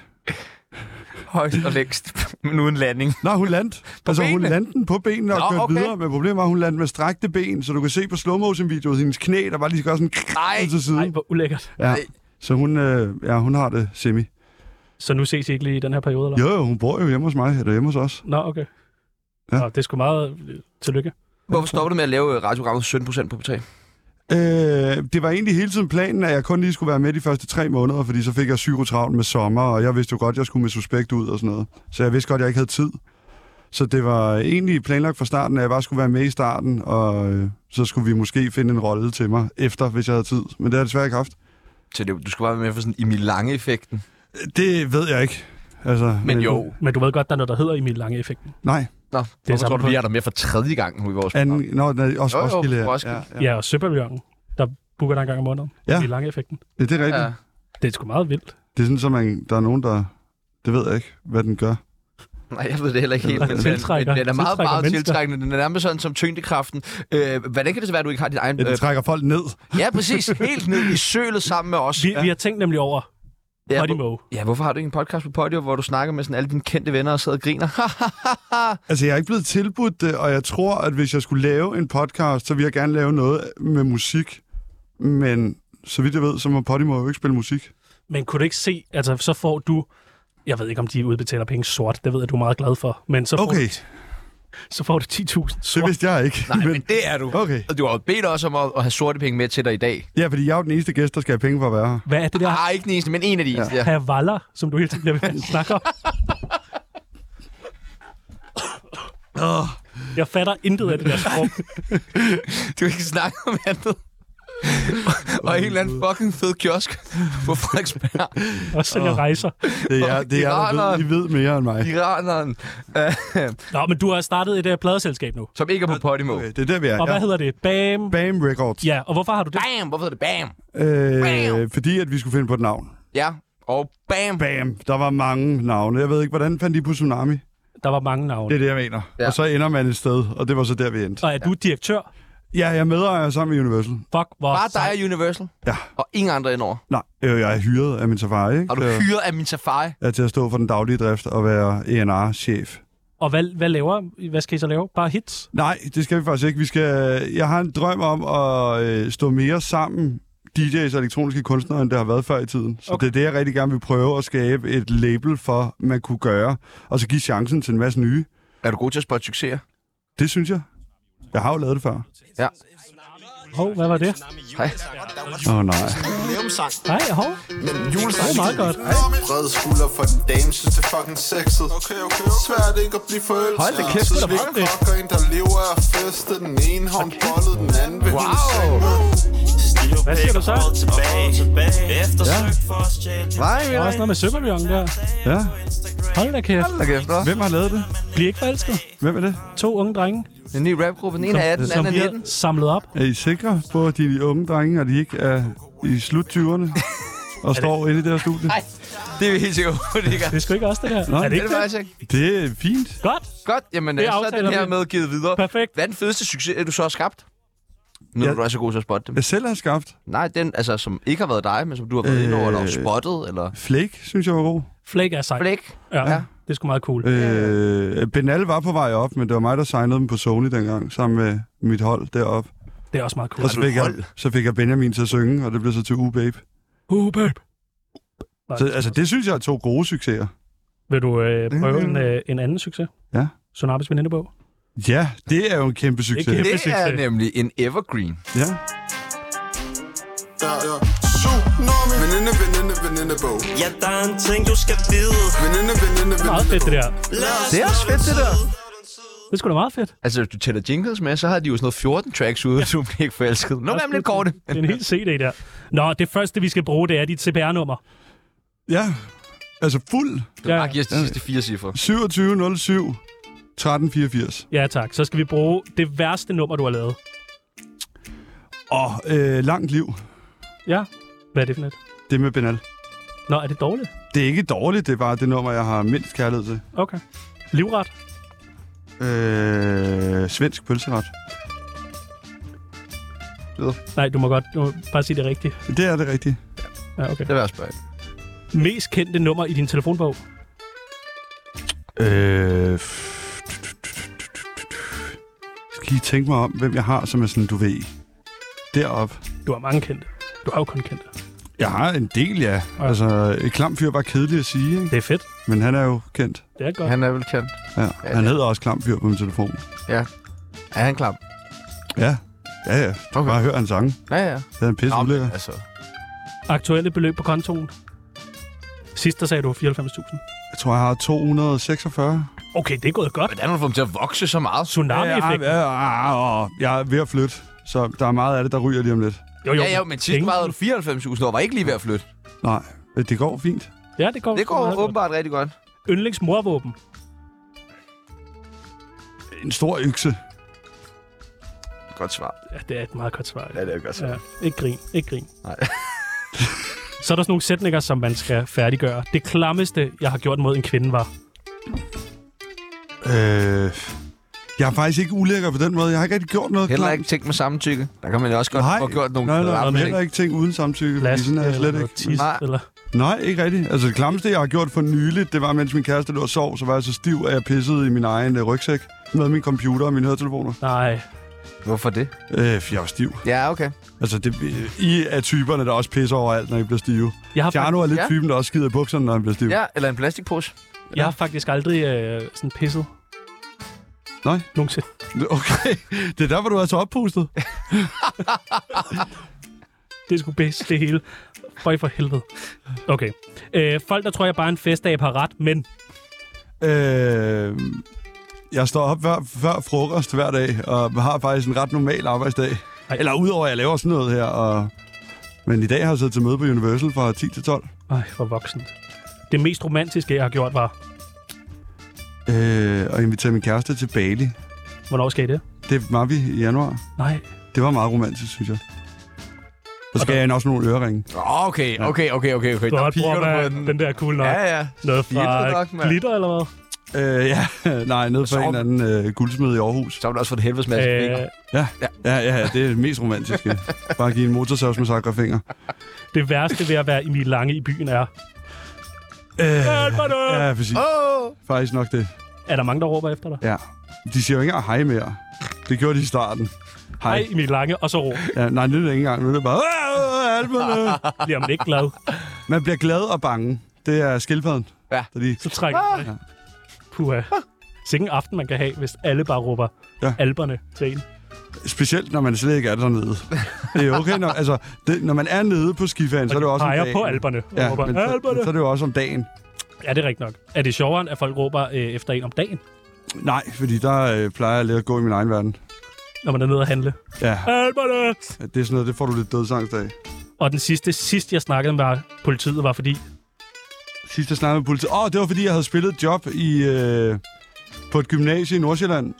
højst og længst, men uden landing. Nej hun landte. altså, hun benene? landte den på benene og Nå, kørte okay. videre. Men problemet var, at hun landte med strakte ben, så du kan se på slow motion videoet hendes knæ, der var lige gør sådan Nej. ud til Nej, siden. hvor ulækkert. Ja. Så hun, øh, ja, hun har det semi. Så nu ses I ikke lige i den her periode, eller? Jo, jo, hun bor jo hjemme hos mig, eller hjemme hos os. Nå, okay. Ja. Ja. Nå, det er sgu meget øh, tillykke. Hvorfor stopper du med at lave øh, radioprogrammet 17% på P3? Øh, det var egentlig hele tiden planen, at jeg kun lige skulle være med de første tre måneder, fordi så fik jeg psykotravl med sommer, og jeg vidste jo godt, at jeg skulle med suspekt ud og sådan noget. Så jeg vidste godt, at jeg ikke havde tid. Så det var egentlig planlagt fra starten, at jeg bare skulle være med i starten, og øh, så skulle vi måske finde en rolle til mig efter, hvis jeg havde tid. Men det har jeg desværre ikke haft. Så det, du skal bare være med for sådan Emil Lange-effekten. Det ved jeg ikke. Altså, Men jo. Men du ved godt, der er noget, der hedder Emil Lange-effekten. Nej. Nå, det samme tror du, vi punkt. er der med for tredje gang nu i vores Anden, program? nå, nej, også Jo, jo, Roskilde. Roskilde. Ja, Ja, ja. ja og Søpavillongen, der booker dig en gang om måneden. Ja. Emil Lange-effekten. Det er rigtigt. Ja. Ja. Det er sgu meget vildt. Det er sådan, at så man, der er nogen, der... Det ved jeg ikke, hvad den gør. Nej, jeg ved det heller ikke helt. Den men- men- tiltrækker- men Den er meget, tiltrækker meget mennesker. tiltrækkende. Den er nærmest sådan som tyngdekraften. Øh, hvordan kan det så være, at du ikke har dit egen... Den Øh, trækker folk ned. ja, præcis. Helt ned i sølet sammen med os. Vi, ja. vi har tænkt nemlig over Ja, hvor- Podimo. Ja, hvorfor har du ikke en podcast på Podio, hvor du snakker med sådan alle dine kendte venner og sidder og griner? Altså, jeg er ikke blevet tilbudt det, og jeg tror, at hvis jeg skulle lave en podcast, så ville jeg gerne lave noget med musik. Men så vidt jeg ved, så må Podimo jo ikke spille musik. Men kunne du ikke se, altså så får du, jeg ved ikke om de udbetaler penge sort, det ved jeg, du er meget glad for, men så får, Okay, du, så får du 10.000 det sort. vidste jeg ikke. Nej, men det er du. Okay. Og du har jo bedt os om at, at have sorte penge med til dig i dag. Ja, fordi jeg er jo den eneste gæst, der skal have penge for at være her. Hvad er det der Nej, Ah, ikke den eneste, men en af de eneste. Ja. havaller, som du hele tiden bliver ved med at snakke om? Åh, Jeg fatter intet af det der sprog. Du kan ikke snakke om andet. og en eller anden fucking fed kiosk på Frederiksberg. Også selvom jeg rejser. Det er, jeg- det er jeg, der ved, I ved mere end mig. Iraneren, øh, Nå, men du har startet et uh, pladeselskab nu. som ikke er på Podimo. Okay, det er der, vi er. Og hvad Ja. hedder det? Bam. Bam Records. Ja, og hvorfor har du det? Bam! Hvorfor hedder det bam? Øh, fordi at vi skulle finde på et navn. Ja, og bam! Bam. Der var mange navne. Jeg ved ikke, hvordan fandt de på Tsunami? Der var mange Det navne. er det, jeg mener. Ja. Og så ender man et sted, og det var så der, vi endte. Og er du direktør? Ja, jeg medejer sammen med Universal. Fuck, hvor Bare dig sejt. og Universal. Ja. Og ingen andre indover. Nej, øh, jeg er hyret af min safari, ikke? Har du Så- hyret af min safari? er til at stå for den daglige drift og være E ENR-chef. Og hvad, hvad laver Hvad skal I så lave? Bare hits? Nej, det skal vi faktisk ikke. Vi skal, jeg har en drøm om at øh, stå mere sammen DJ's og elektroniske kunstnere, end det har været før i tiden. Så okay. Okay. det er det, jeg rigtig gerne vil prøve at skabe et label for, man kunne gøre, og så give chancen til en masse nye. Er du god til at spotte succeser? Det synes jeg. Jeg har jo lavet det før. Ja. Hov, hvad var det? Hej. Åh oh, nej. Jubilæumsang Nej, hov. Julesang Det er meget godt. Brede skulder for den dame Synes det er fucking sexet Okay, okay, okay. Svært ikke at blive forelsket Hold da kæft, det er da meget fedt. Fucker en der lever af feste Den ene har hun bollet Den anden vil hun Wow. senge med. Hvad siger du så? tilbage. Eftersøgt for at stjæle din Nej, Der nej. er også noget med sømmermjørn der. Ja. Hold da kæft. Hold da kæft, hva'? Hvem har lavet det? Bliv ikke forelsket. Hvem er det? To unge drenge, En ny rapgruppe. Den ene er 18, den som anden vi er har 19. samlet op. Er I sikre på, at de unge drenge, og de ikke er i slut-20'erne og står inde i det her studie? Nej, det er vi helt sikre på, det ikke er. Det er sgu ikke også det der. Nå, er det Det er ikke det det? faktisk ikke. Det er fint. Godt. Godt, jamen Det øh, så er aftaler den her vi. med givet videre. Perfekt. Hvad er den fedeste succes, du så har skabt? Nu Ja. er du er så god til at spotte dem. Jeg selv har skabt. Nej, den, altså, som ikke har været dig, men som du har været øh... inde over, eller Øh. spottet, eller Flake, synes jeg var god. Flake er sejt. blik. Ja, Ja. ja. Det er sgu meget cool. Øh, Benal var på vej op, men det var mig, der signede dem på Sony dengang, sammen med mit hold deroppe. Det er også meget cool. Og så fik, jeg, så fik jeg Benjamin til at synge, og det blev så til U-Babe. Uh, babe. Nej, Så, altså, det synes jeg er to gode succeser. Vil du øh, prøve en, øh, en anden succes? Ja. Sonamis venindebog. Ja, det er jo en kæmpe succes. kæmpe. Det succes. er nemlig en evergreen. Ja. Ja, ja. Tsunami Veninde, veninde, veninde bog Ja, der er en ting, du skal vide. Veninde, veninde, Det er meget veninde fedt, det bog der. Det er også fedt, det der. Det er sgu da meget fedt. Altså, hvis du tæller jingles med, så har de jo sådan noget 14 tracks ude, som ikke forelsket. Nå, hvad med lidt korte? Det er en helt CD der. Nå, det første, vi skal bruge, det er dit CPR-nummer. Ja. Altså, fuld Ja, Bare giv os de sidste fire cifre. 2707 1384. ja, tak. Så skal vi bruge det værste nummer, du har lavet. Og øh, langt liv. Ja. Hvad er det for et? Det med Benal. Nå, er det dårligt? Det er ikke dårligt, det er bare det nummer, jeg har mindst kærlighed til. Okay. Livret. Øh, svensk pølseret. Nej, du må godt du må bare sige det rigtigt. Det er det rigtige. Ja, okay. Det vil jeg spørge. Mest kendte nummer i din telefonbog? Øh, skal lige tænke mig om, hvem jeg har, som er sådan, du ved, deroppe. Du har mange kendte. Du har jo kun kendte. Jeg har en del, ja. Ja. Altså, et klam fyr var kedelig at sige, ikke? Det er fedt. men han er jo kendt. Det er godt. Han er vel kendt. Ja. Ja, Han ja. hedder også klam fyr på min telefon. Er han klam? Ja, ja, ja. Okay. Bare hør hans sange. Ja, ja. Det er en pisse Nå, men ulækker. altså. Aktuelle beløb på kontoen? Sidst der sagde du 94.000. Jeg tror, jeg har 246. Okay, det er gået godt. Hvordan har du fået dem til at vokse så meget? Tsunami-effekten. ja, ja, jeg er ved at flytte, så der er meget af det, der ryger lige om lidt. Jo, jo. Ja, ja, men sidst Penge. vejede du 94.000 år, var ikke lige ved at flytte. Nej, det går fint. Ja, det går, Det går meget åbenbart rigtig godt. Godt. Yndlings morvåben. En stor økse. Godt svar. Ja, det er et meget godt svar. Ja, det er et godt svar. Ja, ikke grin, ikke grin. Nej. Så er der sådan nogle sætninger, som man skal færdiggøre. Det klammeste, jeg har gjort mod en kvinde, var... Øh, jeg er faktisk ikke ulækker på den måde. Jeg har ikke rigtig gjort noget Heller klamt. ikke tænkt med samtykke. Der kan man jo også godt nej, få gjort nogle nej, nej, nej, klamme men ting. heller ikke ting uden samtykke, fordi sådan er jeg slet eller ikke. tis, Nej. eller... Nej, ikke rigtigt. Altså det klammeste, jeg har gjort for nyligt, det var, mens min kæreste lå og sov, så var jeg så stiv, at jeg pissede i min egen øh, rygsæk med min computer og mine høretelefoner. Nej, Hvorfor det? Øh, for jeg var stiv. Ja, okay. Altså, det, I er typerne, der også pisser overalt, når I bliver stive. jeg har, Tjerno er lidt Ja. typen, der også skider i bukserne, når han bliver stiv. Ja, eller en plastikpose. jeg har faktisk aldrig øh, sådan pisset. Nej. Nogensinde. Okay. Det er derfor, du er så oppustet. Det skulle bedst, det hele. Føj for helvede. Okay. Øh, folk, der tror, jeg bare er en festdag har ret, men Øh, jeg står op hver, før frokost hver dag, og har faktisk en ret normal arbejdsdag. Ej. Ej. Eller udover, at jeg laver sådan noget her. Og... Men i dag har jeg siddet til møde på Universal fra 10 til 12. Ej, hvor voksent. Det mest romantiske, jeg har gjort, var... Øh, og inviterer min kæreste til Bali. Hvornår skal I det? Det var vi i januar. Nej. Det var meget romantisk, synes jeg. Og skal jeg hende også nogle øreringe. Åh, Okay, okay, okay, okay, okay. Du har Der et bror piker du på med den. den. den der cool nok. Ja, Ja, ja. Noget Stilet fra nok, mand. glitter, eller hvad? Øh, ja, nej, ned Så- fra en eller anden øh, guldsmed i Aarhus. Så har du også fået et helvedes masse penge. Øh, Ja, ja, ja, ja, det er det mest romantiske. Bare give en motorsavsmassakre finger. det værste ved at være Emil Lange i byen er... Hjælp mig nu! Øh, ja, præcis. Åh! Faktisk nok det. Er der mange, der råber efter dig? Ja. De siger jo ikke engang hej mere. Det gjorde de i starten. Hej. Hej, Emil Lange, og så råb. Ja, nej, nu er det ikke engang. Nu er det bare... "Åh, alperne." Bliver man ikke glad, Man bliver glad og bange. Det er skildpadden. Ja. Der lige... så trækker Ah! man sig. Puha. Sikke en aften, man kan have, hvis alle bare råber Ja. alberne til en. Specielt, når man slet ikke er dernede. Det er okay, når, altså, det, når man er nede på skifagen, så er det jo også om Peger dagen. på alberne og ja, Ja, råber, men så, alberne! så er det jo også om dagen. Ja, det er rigtigt nok. Er det sjovere, end at folk råber øh, efter en om dagen, Nej, fordi der øh, plejer jeg lidt at gå i min egen verden. når man er nede og handle? Ja, Alberne! det er sådan noget, det får du lidt dødsangst af. Og den sidste, sidst jeg snakkede med politiet, var fordi, Sidst jeg snakkede med politiet. Åh, det var fordi, jeg havde spillet et job i, øh, på et gymnasie i Nordsjælland.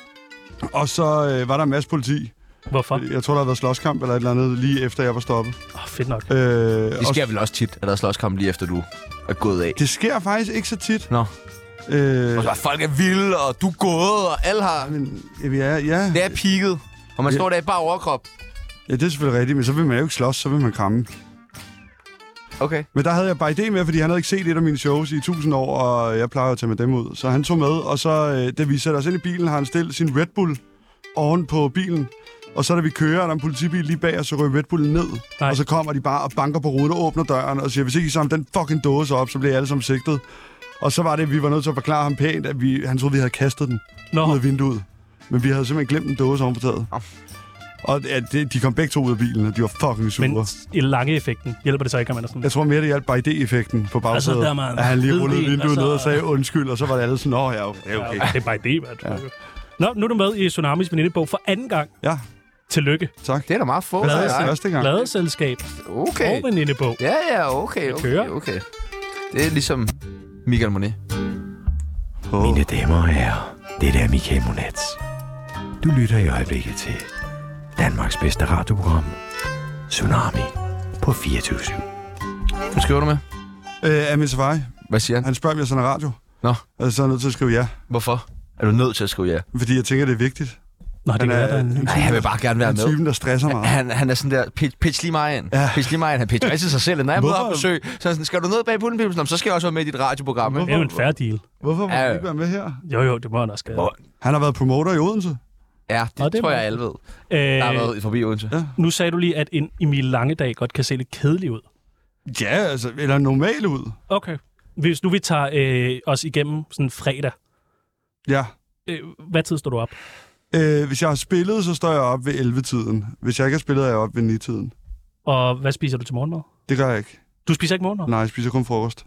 Og så øh, var der en masse politi. hvorfor? Jeg tror, der havde været slåskamp eller et eller andet, lige efter jeg var stoppet. Åh, oh, fedt nok. Øh, Det og sker vel også tit, at der er slåskamp lige efter, du er gået af. det sker faktisk ikke så tit. Nå. Øh, Og så er folk er vilde, og du er gået, og alle har... men, ja, ja, Det er pigget. Og man står der i bare overkrop. ja, det er selvfølgelig rigtigt, men så vil man jo ikke slås, så vil man kramme. Okay. Men der havde jeg bare idé med, fordi han havde ikke set et af mine shows i tusind år, og jeg plejer jo at tage med dem ud. Så han tog med, og så, øh, da vi sætter os ind i bilen, har han stillet sin Red Bull oven på bilen. Og så da vi kører, er der en politibil lige bag os, så ryger Red Bullen ned. Nej. Nej. Og så kommer de bare og banker på ruden og åbner døren og siger, hvis ikke I samler den fucking dåse op, så bliver I alle sammen sigtet. Og så var det, at vi var nødt til at forklare ham pænt, at vi, han troede, vi havde kastet den Nå, ud af vinduet. Men vi havde simpelthen glemt en dåse oven på taget. Nå. Og ja, det, de kom begge to ud af bilen, og de var fucking sure. men i lange effekten hjælper det så ikke, at man er sådan... Mm. Jeg tror mere, det hjalp bare idéeffekten på bagsædet. Altså, der, man- at han lige ved rullede en, og vinduet så- ned og sagde undskyld, og så var det alle sådan, nå ja, okay, det er okay. Ja, det er bare det, mand. Ja. Nå, nu er du med i Tsunamis venindebog for anden gang. Ja, Tillykke. tak. Det er da meget få. Hvad der sagde jeg er. første gang? Pladeselskab Okay. og venindebog. Ja, ja, okay, okay, kører. okay. Det er ligesom Michael Monet. Åh, Mine damer og herrer, det er Michael Monats. Du lytter i øjeblikket til Danmarks bedste radioprogram, Tsunami på 24 Hvad skriver du med? Øh, Amin Safai, Hvad siger han? han spørger, om jeg sender radio. Nå. Altså, så er jeg nødt til at skrive ja. Hvorfor? Er du nødt til at skrive ja? Fordi jeg tænker, det er vigtigt. Nå, det Han kan er- være, der er en Nej, han vil bare gerne være Han er med. typen, der stresser meget. Han, han er sådan der, pitch, pitch lige mig ind. Ja. Ja. Pitch lige mig ind. Han pitcher altid sig selv. Når jeg møder op Hvorfor? på besøg, så er han sådan, skal du ned bag pulten, Pibelsen? Nå, men Så skal jeg også være med i dit radioprogram. Det er Ikke? jo en fair deal. Hvorfor må Ja, han ja. ikke være med her? Jo, jo, det må han også gøre. Hvor- Han har været promoter i Odense. Ja, det, Nå, det er tror meget jeg, alle ved. Der har Øh, været forbi Odense. nu sagde du lige, at en Emil Langedag godt kan se lidt kedelig ud. Ja, altså, eller normal ud. Okay. Hvis nu vi tager øh, os igennem sådan fredag, Ja. øh, hvad tid står du op? Øh, hvis jeg har spillet, så står jeg op ved 11-tiden. Hvis jeg ikke har spillet, er jeg op ved 9-tiden. Og hvad spiser du til morgenmad? Det gør jeg ikke. Du spiser ikke morgenmad? Nej, jeg spiser kun frokost.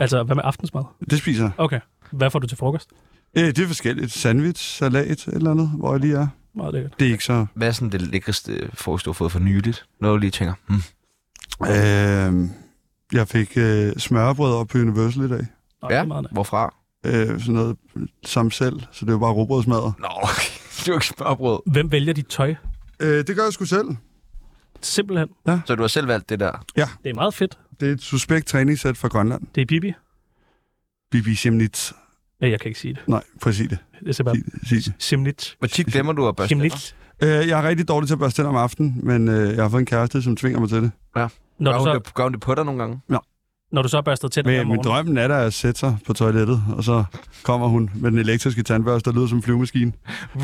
Altså, hvad med aftensmad? Det spiser jeg. Okay. Hvad får du til frokost? Øh, det er forskelligt. Sandwich, salat, et eller andet, hvor jeg lige er. Meget lækkert. Det er ikke så... Hvad er sådan det lækreste frokost, du har fået for nyligt? Noget, du lige tænker, hmm. Øh, jeg fik øh, smørbrød op på Universal i dag. Nå, det Ja, er meget nice. hvorfra? Øh, sådan noget samme selv, så det var bare råbrødsmadder. Nå, okay. det er jo ikke smørbrød. Hvem vælger dit tøj? Øh, det gør jeg sgu selv. Simpelthen. Så du har selv valgt det der. Det er meget fedt. Det er et suspekt træningssæt fra Grønland. Det er Bibi. Bibi Simnitz. Ja, jeg kan ikke sige det. Nej, prøv at sige det. Det er simpelthen Sig det. Sig det. Simnit. Hvor tit glemmer du at børste tænder? Simnit. Øh, jeg er rigtig dårlig til at børste tænder om aftenen, men øh, jeg har fået en kæreste, som tvinger mig til det. Når Gør du, hun, så, det, gør hun det på dig nogle gange? når du så har børstet tænder hver Men, men morgen. drømmen er da at sætte sig på toilettet, og så kommer hun med den elektriske tandbørste, der lyder som en flyvemaskine.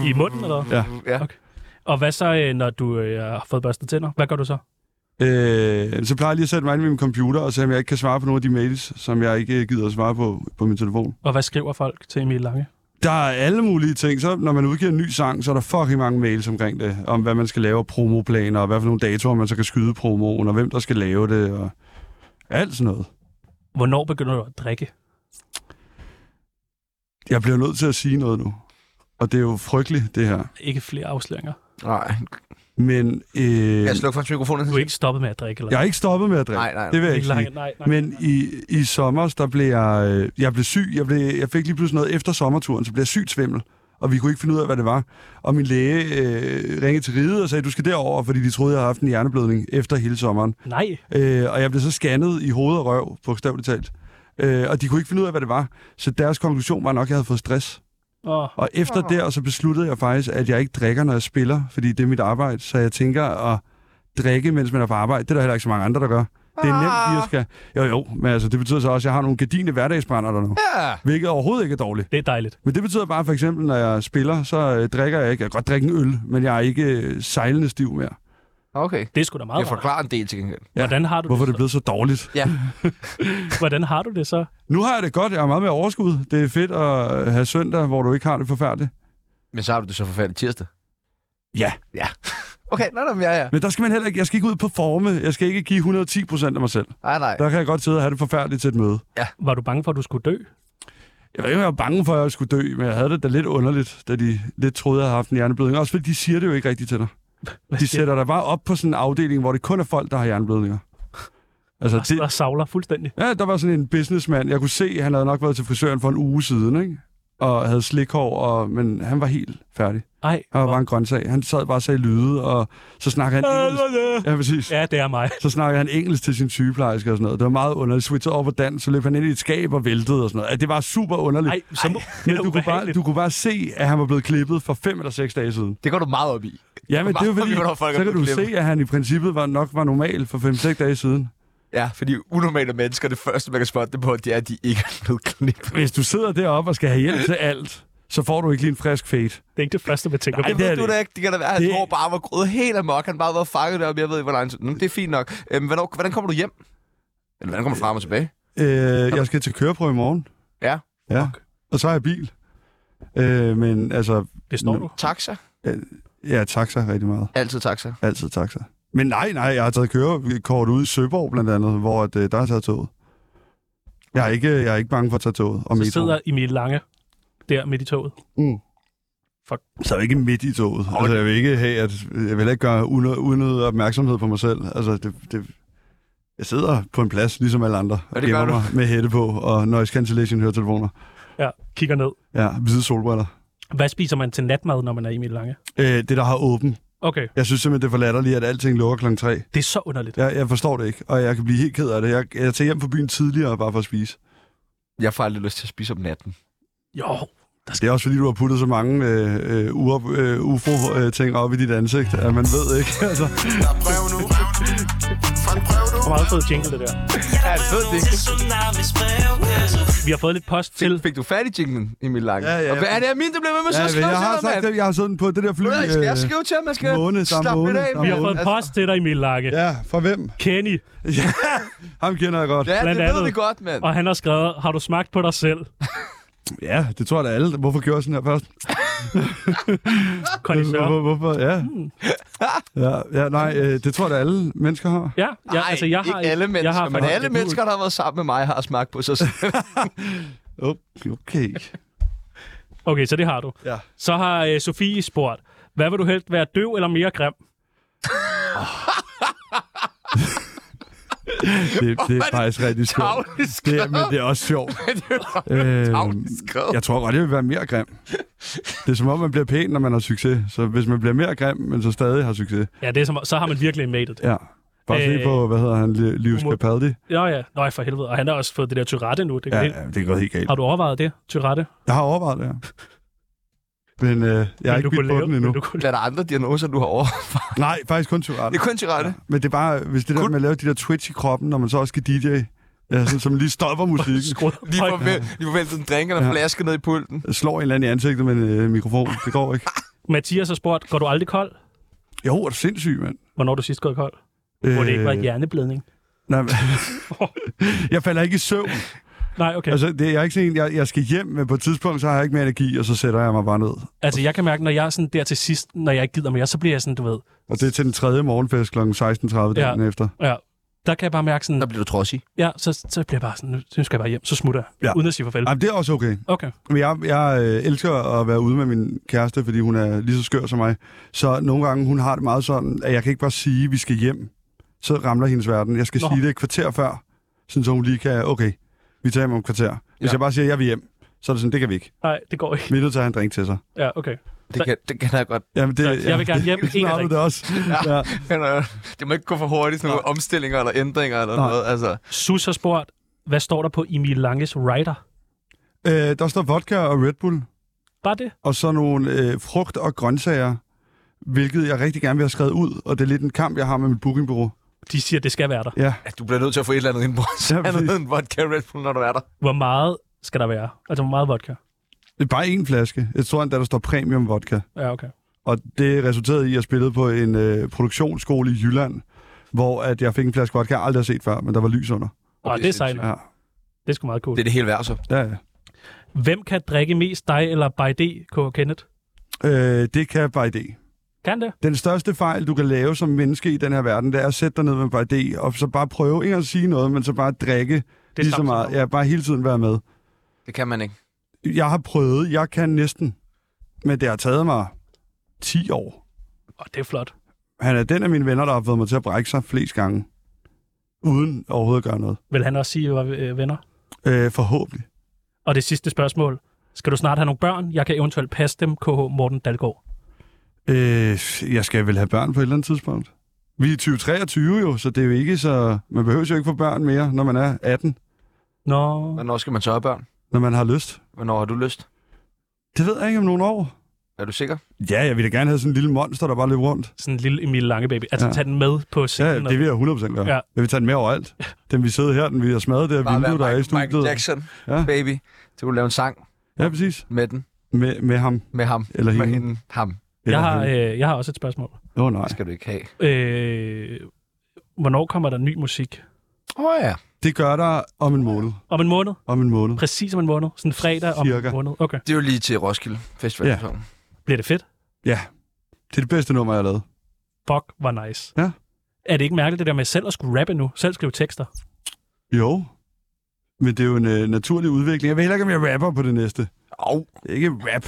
I munden, eller hvad? Ja. Ja. Okay. Og hvad så, øh, når du øh, har fået børstet tænder? Hvad gør du så? Øh, så plejer jeg lige at sætte mig ind i min computer, og se om jeg ikke kan svare på nogle af de mails, som jeg ikke øh, gider at svare på på min telefon. Og hvad skriver folk til Emil Lange? Der er alle mulige ting. Så når man udgiver en ny sang, så er der fucking mange mails omkring det. Om hvad man skal lave af promoplaner, og hvad for nogle datoer, man så kan skyde promoen, og hvem der skal lave det, og alt sådan noget. Hvornår begynder du at drikke? Jeg bliver nødt til at sige noget nu. Og det er jo frygteligt, det her. Ikke flere afsløringer. Nej. Men øh, Kan jeg slukke for hans mikrofon? Du er ikke stoppet med at drikke, eller jeg har ikke stoppet med at drikke. Nej, nej, nej. Det vil jeg ikke Ikke langt, sige. nej, nej. Men i, i sommer, der blev jeg, øh, jeg blev syg. Jeg, blev, jeg fik lige pludselig noget efter sommerturen, så blev jeg sygt svimmel. Og vi kunne ikke finde ud af, hvad det var. Og min læge øh, ringede til riget og sagde, du skal derover, fordi de troede, jeg havde haft en hjerneblødning efter hele sommeren. Nej, Øh, og jeg blev så scannet i hoved og røv, bogstaveligt talt. Øh, og de kunne ikke finde ud af, hvad det var. Så deres konklusion var nok, at jeg havde fået stress. Åh, Og efter der, så besluttede jeg faktisk, at jeg ikke drikker, når jeg spiller, fordi det er mit arbejde. Så jeg tænker at drikke, mens man er på arbejde. Det er der heller ikke så mange andre, der gør. Det er nemt, lige at skal... Jo, jo, men altså, det betyder så også, at jeg har nogle gardine hverdagsbrænder der nu. Ja. Hvilket overhovedet ikke er dårligt. det er dejligt. Men det betyder bare, for eksempel, når jeg spiller, så øh, drikker jeg ikke. Jeg kan godt drikke en øl, men jeg er ikke øh, sejlende stiv mere. Okay. Det er sgu da meget Jeg rart. forklarer en del til gengæld. Hvordan har du Hvorfor er det det, blevet så dårligt? Ja. så? Hvordan har du det så? Nu har jeg det godt. Jeg har meget mere overskud. Det er fedt at øh, have søndag, hvor du ikke har det forfærdeligt. Men så har du det så forfærdeligt tirsdag. Ja. Ja. Okay, nej, nej, men ja, ja. Men der skal man heller ikke... Jeg skal ikke ud på forme. Jeg skal ikke give 110 procent af mig selv. Nej, nej. Der kan jeg godt sidde og have det forfærdeligt til et møde. Var du bange for, at du skulle dø? Jeg var ikke, om jeg var bange for, at jeg skulle dø, men jeg havde det da lidt underligt, da de lidt troede, jeg havde haft en hjerneblødning. Også fordi de siger det jo ikke rigtigt til dig. De sætter dig bare op på sådan en afdeling, hvor det kun er folk, der har hjerneblødninger. Altså, Og sidder det, og savler fuldstændig. ja, der var sådan en businessman. Jeg kunne se, han havde nok været til frisøren for en uge siden, ikke? Og havde slikhår, og, men han var helt færdig. Ej, Han var hvor- bare en grøntsag. Han sad bare og sagde lyde, og så snakkede han engelsk. Ja, præcis. Ja, det er mig. Så snakkede han engelsk til sin sygeplejerske og sådan noget. Det var meget underligt. Switchede over på dansk, så løb han ind i et skab og væltede og sådan noget. Ja, Det var super underligt. Ej, så må... Men det er du kunne, bare, du kunne bare se, at han var blevet klippet for fem eller seks dage siden. Det går du meget op i. Ja, men det er jo Hvor fordi, mange minutter folk er så kan du blevet se, klippet. at han i princippet var, nok var normal for fem-seks dage siden. Ja, fordi unormale mennesker, det første, man kan spotte dem på, det er, at de ikke er blevet klippet. Hvis du sidder deroppe og skal have hjælp til alt, så får du ikke lige en frisk fade. Det er ikke det første, man tænker Nej, på. det Det er ved du da ikke. Det kan da være, at Det- hans hår bare var grået helt amok. Han bare var fanget deroppe. Jeg ved ikke, hvor lang tid. Nå, Det er fint nok. Øhm, hvornår, hvordan kommer du hjem? Eller hvordan kommer du frem og tilbage? Øh, jeg skal til køreprøve i morgen. Ja. Ja, og så har jeg bil. Øh, men altså, Består du? Øh, Taxa? ja, taxa rigtig meget. Altid taxa. Altid taxa. Men nej, nej, jeg har taget kørekort ud i Søborg blandt andet, hvor at, øh, der har jeg taget toget. Jeg er, ikke, jeg er ikke bange for at tage toget og Så metroen. sidder Emil Lange der midt i toget. Mm. Fuck. Så er jeg ikke midt i toget. Altså, jeg vil ikke have, at jeg vil heller ikke gøre unø- unødig opmærksomhed på mig selv. Altså, det, det, jeg sidder på en plads, ligesom alle andre, og det gør gemmer du. mig med hætte på, og noise cancellation høretelefoner. Ja, kigger ned. Ja, hvide solbriller. Hvad spiser man til natmad, når man er Emil Lange? Øh, det, der har åben. Okay, Jeg synes simpelthen, det er for latterligt, at alting lukker klokken 3. det er så underligt. Jeg, jeg forstår det ikke, og jeg kan blive helt ked af det. Jeg, jeg tager hjem fra byen tidligere bare for at spise. Jeg får aldrig lyst til at spise om natten. Jo. Det er også fordi, du har puttet så mange øh, øh, uop- øh, ufo-ting op i dit ansigt, at man ved ikke. Altså. Det var meget fed jingle, det der. Ja, det ved det ikke. Vi har fået lidt post til. Fik du fat i jinglen, Emil Lange? Ja, ja, Og hvad er det, Amin, der bliver ved med så Ja, at men skrive jeg til har dig, sagt mand? det, jeg har sådan på det der fly. Ved jeg ikke, Skal jeg øh, skrive til ham? Jeg skal måned, samme slappe lidt måned, af. samme Vi har fået en Altså- post til dig, Emil Lange. Ja, fra hvem? Kenny, Ham kender jeg godt. Ja, Blandt det ved andet. vi godt, mand. og han har skrevet, har du smagt på dig selv? Ja, det tror jeg da alle. Hvorfor gjorde jeg sådan her først? Connie Sørensen. Hvorfor? hvorfor? Ja. Hmm. ja. Ja, nej, øh, det tror jeg da alle mennesker har. Ja, ja Nej, altså jeg har... ikke alle mennesker, jeg har men faktisk- alle mennesker, der har været sammen med mig, har smagt på sig selv. Okay. Okay, så det har du. Ja. Så har øh, Sofie spurgt, hvad vil du helst være, døv eller mere grim? Det, det er er det faktisk rigtig sjovt. tavligt Det, er- men det er også sjovt. øhm, skrevet. jeg tror godt, jeg vil være mere grim. Det er som om, man bliver pæn, når man har succes. Så hvis man bliver mere grim, men så stadig har succes. Ja, det er som, så har man virkelig matet det. Ja. Bare øh, se Øh, på, hvad hedder han, Li- Lewis humor. Capaldi. Ja, ja. Nå, ja, for helvede. Og han har også fået det der Tourette nu. Det Ja, ja, ja, det er gået helt galt. Har du overvejet det, Tourette? Jeg har overvejet det her. Men øh, jeg har ikke bidt på den endnu. Du kunne... Hvad er der andre diagnoser, du har over? Nej, faktisk kun Det Tourette. er kun til rette. Men det er bare, hvis det der med at lave de der twitch i kroppen, når man så også skal DJ, ja, sådan, som lige stopper musikken, Skruet. Lige får, væl- lige får væltet en drink eller Ja. en flaske ned i pulten. slår en eller anden i ansigtet med en øh, mikrofon. Det går ikke. Mathias har spurgt, går du aldrig kold? Jo, er du sindssyg, mand. Hvornår er du sidst gået kold? Øh... Hvor det ikke var hjerneblædning. nej, men- jeg falder ikke i søvn. Nej, okay. Altså, Altså, det, jeg er ikke sådan en, jeg, jeg skal hjem, men på et tidspunkt, så har jeg ikke mere energi, og så sætter jeg mig bare ned. altså, jeg kan mærke, når jeg er sådan der til sidst, når jeg ikke gider mere, så bliver jeg sådan, du ved... Og det er til den tredje morgenfest kl. 16.30 dagen Ja. efter. Ja, der kan jeg bare mærke sådan, Der bliver du trodsig. ja, så, så bliver jeg bare sådan, nu nu skal jeg bare hjem, så smutter jeg, Ja. ja. uden at sige farvel. Jamen, det er også okay. Okay. Men jeg, jeg øh, elsker at være ude med min kæreste, fordi hun er lige så skør som mig. Så nogle gange, hun har det meget sådan, at jeg kan ikke bare sige, at vi skal hjem. Så ramler hendes verden. Jeg skal Nå. Nå. sige det et kvarter før, sådan så hun lige kan, okay, vi tager hjem om et kvarter. Hvis ja. Ja. jeg bare siger, at jeg vil hjem, så er det sådan, det kan vi ikke. Nej, det går ikke. Vi er nødt til at have en drink til sig. Ja, okay. Det kan, det kan jeg godt. Jamen, det, Jeg vil gerne hjem, en Sådan har du drink. det også. Ja. Ja. Men, øh, Det må ikke gå for hurtigt, sådan nogle omstillinger eller ændringer eller Nej. noget. Altså, Sus har spurgt, hvad står der på Emil Langes rider? Øh, der står vodka og Red Bull, Bare det? og så nogle øh, frugt og grøntsager, hvilket jeg rigtig gerne vil have skrevet ud, og det er lidt en kamp, jeg har med mit bookingbureau. De siger, det skal være der. Ja. at du bliver nødt til at få et eller andet indbrud. Ja, præcis. andet end vodka Red Bull, når du er der. Hvor meget skal der være? Altså, hvor meget vodka? Det er bare én flaske. Jeg tror endda, der står premium vodka. Ja, okay. Og det resulterede i, at jeg spillede på en øh, produktionsskole i Jylland, hvor at jeg fik en flaske vodka, jeg aldrig har set før, men der var lys under. Og det er sejt. nok. Ja, Det er sgu meget cool. Det er det hele værd, så. ja. ja. Hvem kan drikke mest, dig eller by D, K. Kenneth? Øh, det kan bare idé. Kan det? Den største fejl, du kan lave som menneske i den her verden, det er at sætte dig ned med bare idé, og så bare prøve ikke at sige noget, men så bare drikke det lige så samme som meget. mig. Ja, bare hele tiden være med. Det kan man ikke. Jeg har prøvet, jeg kan næsten, men det har taget mig 10 år. Åh, det er flot. Han er den af mine venner, der har fået mig til at brække sig flest gange, uden overhovedet at gøre noget. Vil han også sige, at vi var øh, venner? Øh, forhåbentlig. Og det sidste spørgsmål. Skal du snart have nogle børn? Jeg kan eventuelt passe dem, KH Morten Dalgaard. Øh, jeg skal vel have børn på et eller andet tidspunkt. Vi er i 2023 jo, så det er jo ikke så... Man behøver jo ikke få børn mere, når man er 18, Nå, Hvornår skal man så have børn? når man har lyst. Hvornår har du lyst? Det ved jeg ikke om nogle år. Er du sikker? Ja, jeg ville da gerne have sådan en lille monster, der bare løber rundt. sådan en lille Emil Lange baby. Altså, Ja. ja. tag den med på Ja, scenen. det vil jeg 100% gøre. Ja. Ja. Jeg vil tage den med overalt. Den vi sidder her, den vi har smadret det her vindue, der er i Mike, Michael studiet. Jackson, Ja. ja. baby. Så kunne du lave en sang Ja, præcis. med den. Med, med ham. Med ham. Eller med hende. hende. Ham. jeg, har, Åh, øh, jeg har også et spørgsmål. øh... oh, nej. Det skal du ikke have. Øh, hvornår kommer der ny musik? Åh oh, ja. Det gør der om en måned. Om en måned? Om en måned. Præcis om en måned? Sådan fredag om Cirka. en måned? Okay. Det er jo lige til Roskilde Festival. Ja. Ja. Bliver det fedt? Ja. Det er det bedste nummer, jeg har lavet. Fuck, var nice. Ja. Er det ikke mærkeligt, det der med selv at skulle rappe nu? Selv skrive tekster? Jo. Men det er jo en øh, naturlig udvikling. Jeg ved heller ikke, om jeg rapper på det næste. Og Det er ikke rap.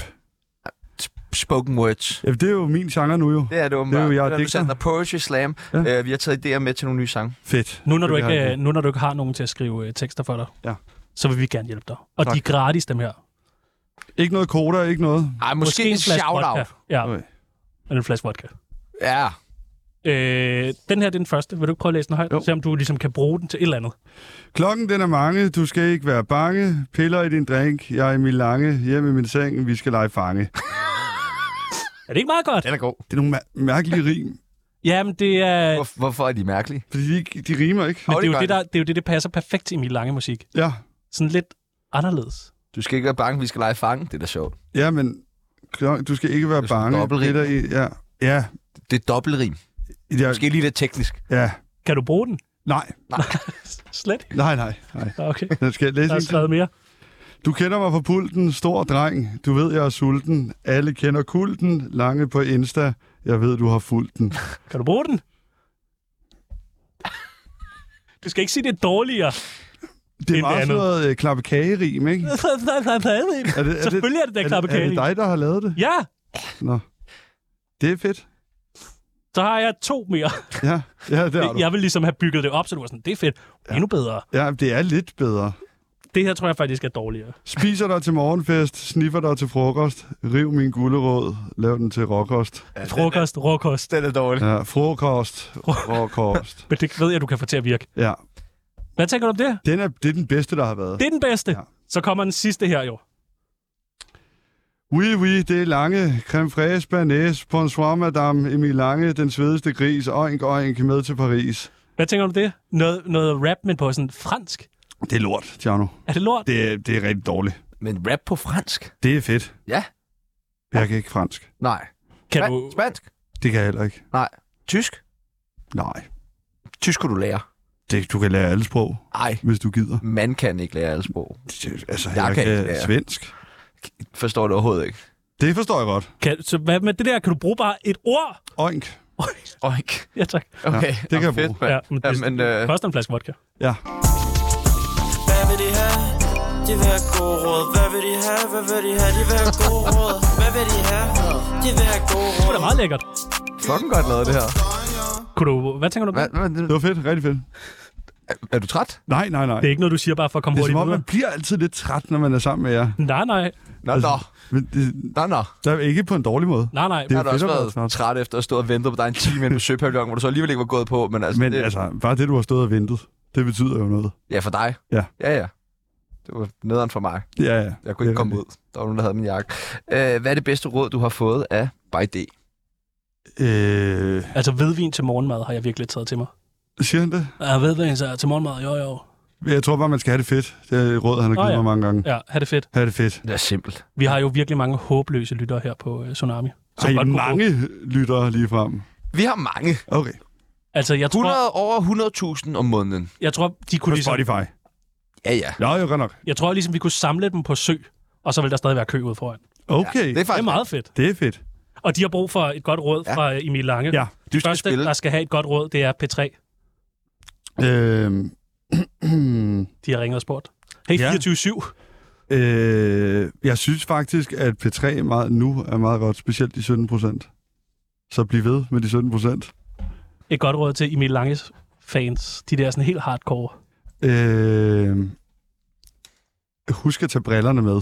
spoken words. Ja, det er jo min genre nu jo. Det er det åbenbart. Det er jo jeg, det er, digter. digter. Der Poetry Slam. Ja. Ja. Øh, vi har taget idéer med til nogle nye sange. Fedt. Nu når, du Det har ikke, jeg øh, nu når du ikke har nogen til at skrive øh, tekster for dig, Ja. så vil vi gerne hjælpe dig. Og Tak. tak. de er gratis, dem her. Måske, Ikke noget koder, ikke noget. Ej, måske, måske en flaske shout-out. vodka. Ja, Okay. okay. en flaske vodka. Ja. Øh, den her det er den første. Vil du ikke prøve at læse den højt? Jo. Se om du ligesom kan bruge den til et eller andet. Klokken den er mange, du skal ikke være bange. Piller i din drink, jeg er i min lange, hjemme i min seng, vi skal lege fange. Er det ikke meget godt? Den er god. Ah, Det er nogle mær- mærkelige rim, Jamen, det er... Hvor, hvorfor er de mærkelige? fordi de, ikke- de rimer ikke. Men Hov, det, er gør jo det, de. der, det er jo det, der passer perfekt til min lange musik. Ja, Sådan lidt anderledes. Du skal ikke være bange, vi skal lege fange. Det er da sjovt. ja men klok- du skal ikke være Det er sådan bange. dobbeltrim. Piller i, ja, ja, Det er dobbeltrim. jeg, Måske lige lidt teknisk. ja. Kan du bruge den? Nej, Slet ikke. nej, nej, nej. Nå, Okay, Den skal jeg der læse er en til. skrevet mere. Du kender mig fra pulten, stor dreng. Du ved, jeg er sulten. Alle kender kulten. Lange på Insta. Jeg ved, du har fulgt den. Kan du bruge den? Du skal ikke sige, det er dårligere. Det er End meget det sådan andet. noget øh, klapperkagerim, ikke? Er det, er Selvfølgelig er det da er klappe det, er det dig, der har lavet det? Ja, Nå. Det er fedt. så har jeg to mere. Ja, ja det har du. Jeg vil ligesom have bygget det op, så du var sådan, det er fedt. Endnu bedre. Ja, det er lidt bedre. Det her tror jeg faktisk er dårligere. Spiser dig til morgenfest, sniffer dig til frokost, riv min gulerod, lav den til råkost. Frokost, råkost. Den er dårlig. Ja, frokost, råkost. Men det ved jeg, du kan få til at virke. Ja, Hvad tænker du om det? den er, det er den bedste, der har været. Det er den bedste. Ja. Så kommer den sidste her jo. Oui, oui, det er lange. Creme fraise, banæs, bonsoir madame, Emil Lange, den svedeste gris, oink, oink, med til Paris. Hvad tænker du om det? Noget, noget rap, men på sådan fransk. Det er lort, Tjerno. Er det lort? Det, er- det er rigtig dårligt. Men rap på fransk? Det er fedt. Ja. Jeg kan ikke fransk. Nej. Kan Span- du... Spansk? Det kan jeg heller ikke. Nej. Tysk? Nej. Tysk kunne du lære. Det, du kan lære alle sprog, Nej. hvis du gider. Man kan ikke lære alle sprog. Det- Altså, Jeg kan ikke lære. svensk. Forstår det overhovedet ikke. Det forstår jeg godt. Kan, så hvad med det der? Kan du bruge bare et ord? Oink. Oink. Ja, tak. Okay. det kan Nå, jeg fedt, bruge. mand. Ja, men det Jamen, øh, koster en flaske vodka. Ja. Hvad vil de have? De vil have gode råd. Hvad vil de have? Hvad vil de have? De vil have gode råd. Hvad vil de have? De vil have gode Det råd. er meget lækkert. fucking godt lavet det her. Kunne du, hvad tænker du om Hvad, det? hvad, Det var fedt. Rigtig fedt. er du træt? Nej, nej, nej. Det er ikke noget, du siger bare for at komme Det er hurtigt som om, videre. man bliver altid lidt træt, når man er sammen med jer. Nej, nej. Nå, nå. Men det, Nå, nå. der er ikke på en dårlig måde. Nej, nej. Det Jeg er har da fedt også at være været træt. træt efter at stå og vente på dig en time inde på Søpavillon, hvor du så alligevel ikke var gået på, men altså... Men det, altså, bare det, du har stået og ventet, det betyder jo noget. Ja, for dig. Ja. Ja, ja. Det var nederen for mig. Ja, ja. Jeg kunne ikke Ja, komme det- ud. Der var nogen, der havde min jakke. Øh, hvad er det bedste råd, du har fået af By D? Øh, Altså, hvidvin til morgenmad har jeg virkelig taget til mig. siger han det? Ja, hvidvin så til morgenmad, jo, jo. Jeg tror bare, man skal have det fedt. Det er et råd, han har Nå, givet ja. mig mange gange. Ja, ha' det fedt. Have det fedt. Det er simpelt. Vi har jo virkelig mange håbløse lyttere her på øh, Tsunami. Ej, godt kunne bruge- mange lyttere lige frem. Vi har mange. Okay. Altså, jeg tror, 100, over 100.000 om måneden. jeg tror, de På kunne ligesom, Spotify. Ja, ja. Ja, jo, godt nok. jeg tror ligesom, vi kunne samle dem på sø, og så vil der stadig være kø ude foran. Okay. Det er Det faktisk er meget fedt. Det er fedt. Og de har brug for et godt råd Ja. fra øh, Emil Lange. Ja, de du første, skal altså- spille. der skal have et godt råd, det er P3. Øhm, De har ringet og spurgt. Hey, Ja. 24-7. øh, jeg synes faktisk, at P3 meget, nu er meget godt, specielt de 17 procent. Så bliv ved med de 17 procent. Et godt råd til Emil Langes fans. De der sådan helt hardcore. Øh, husk at tage brillerne med.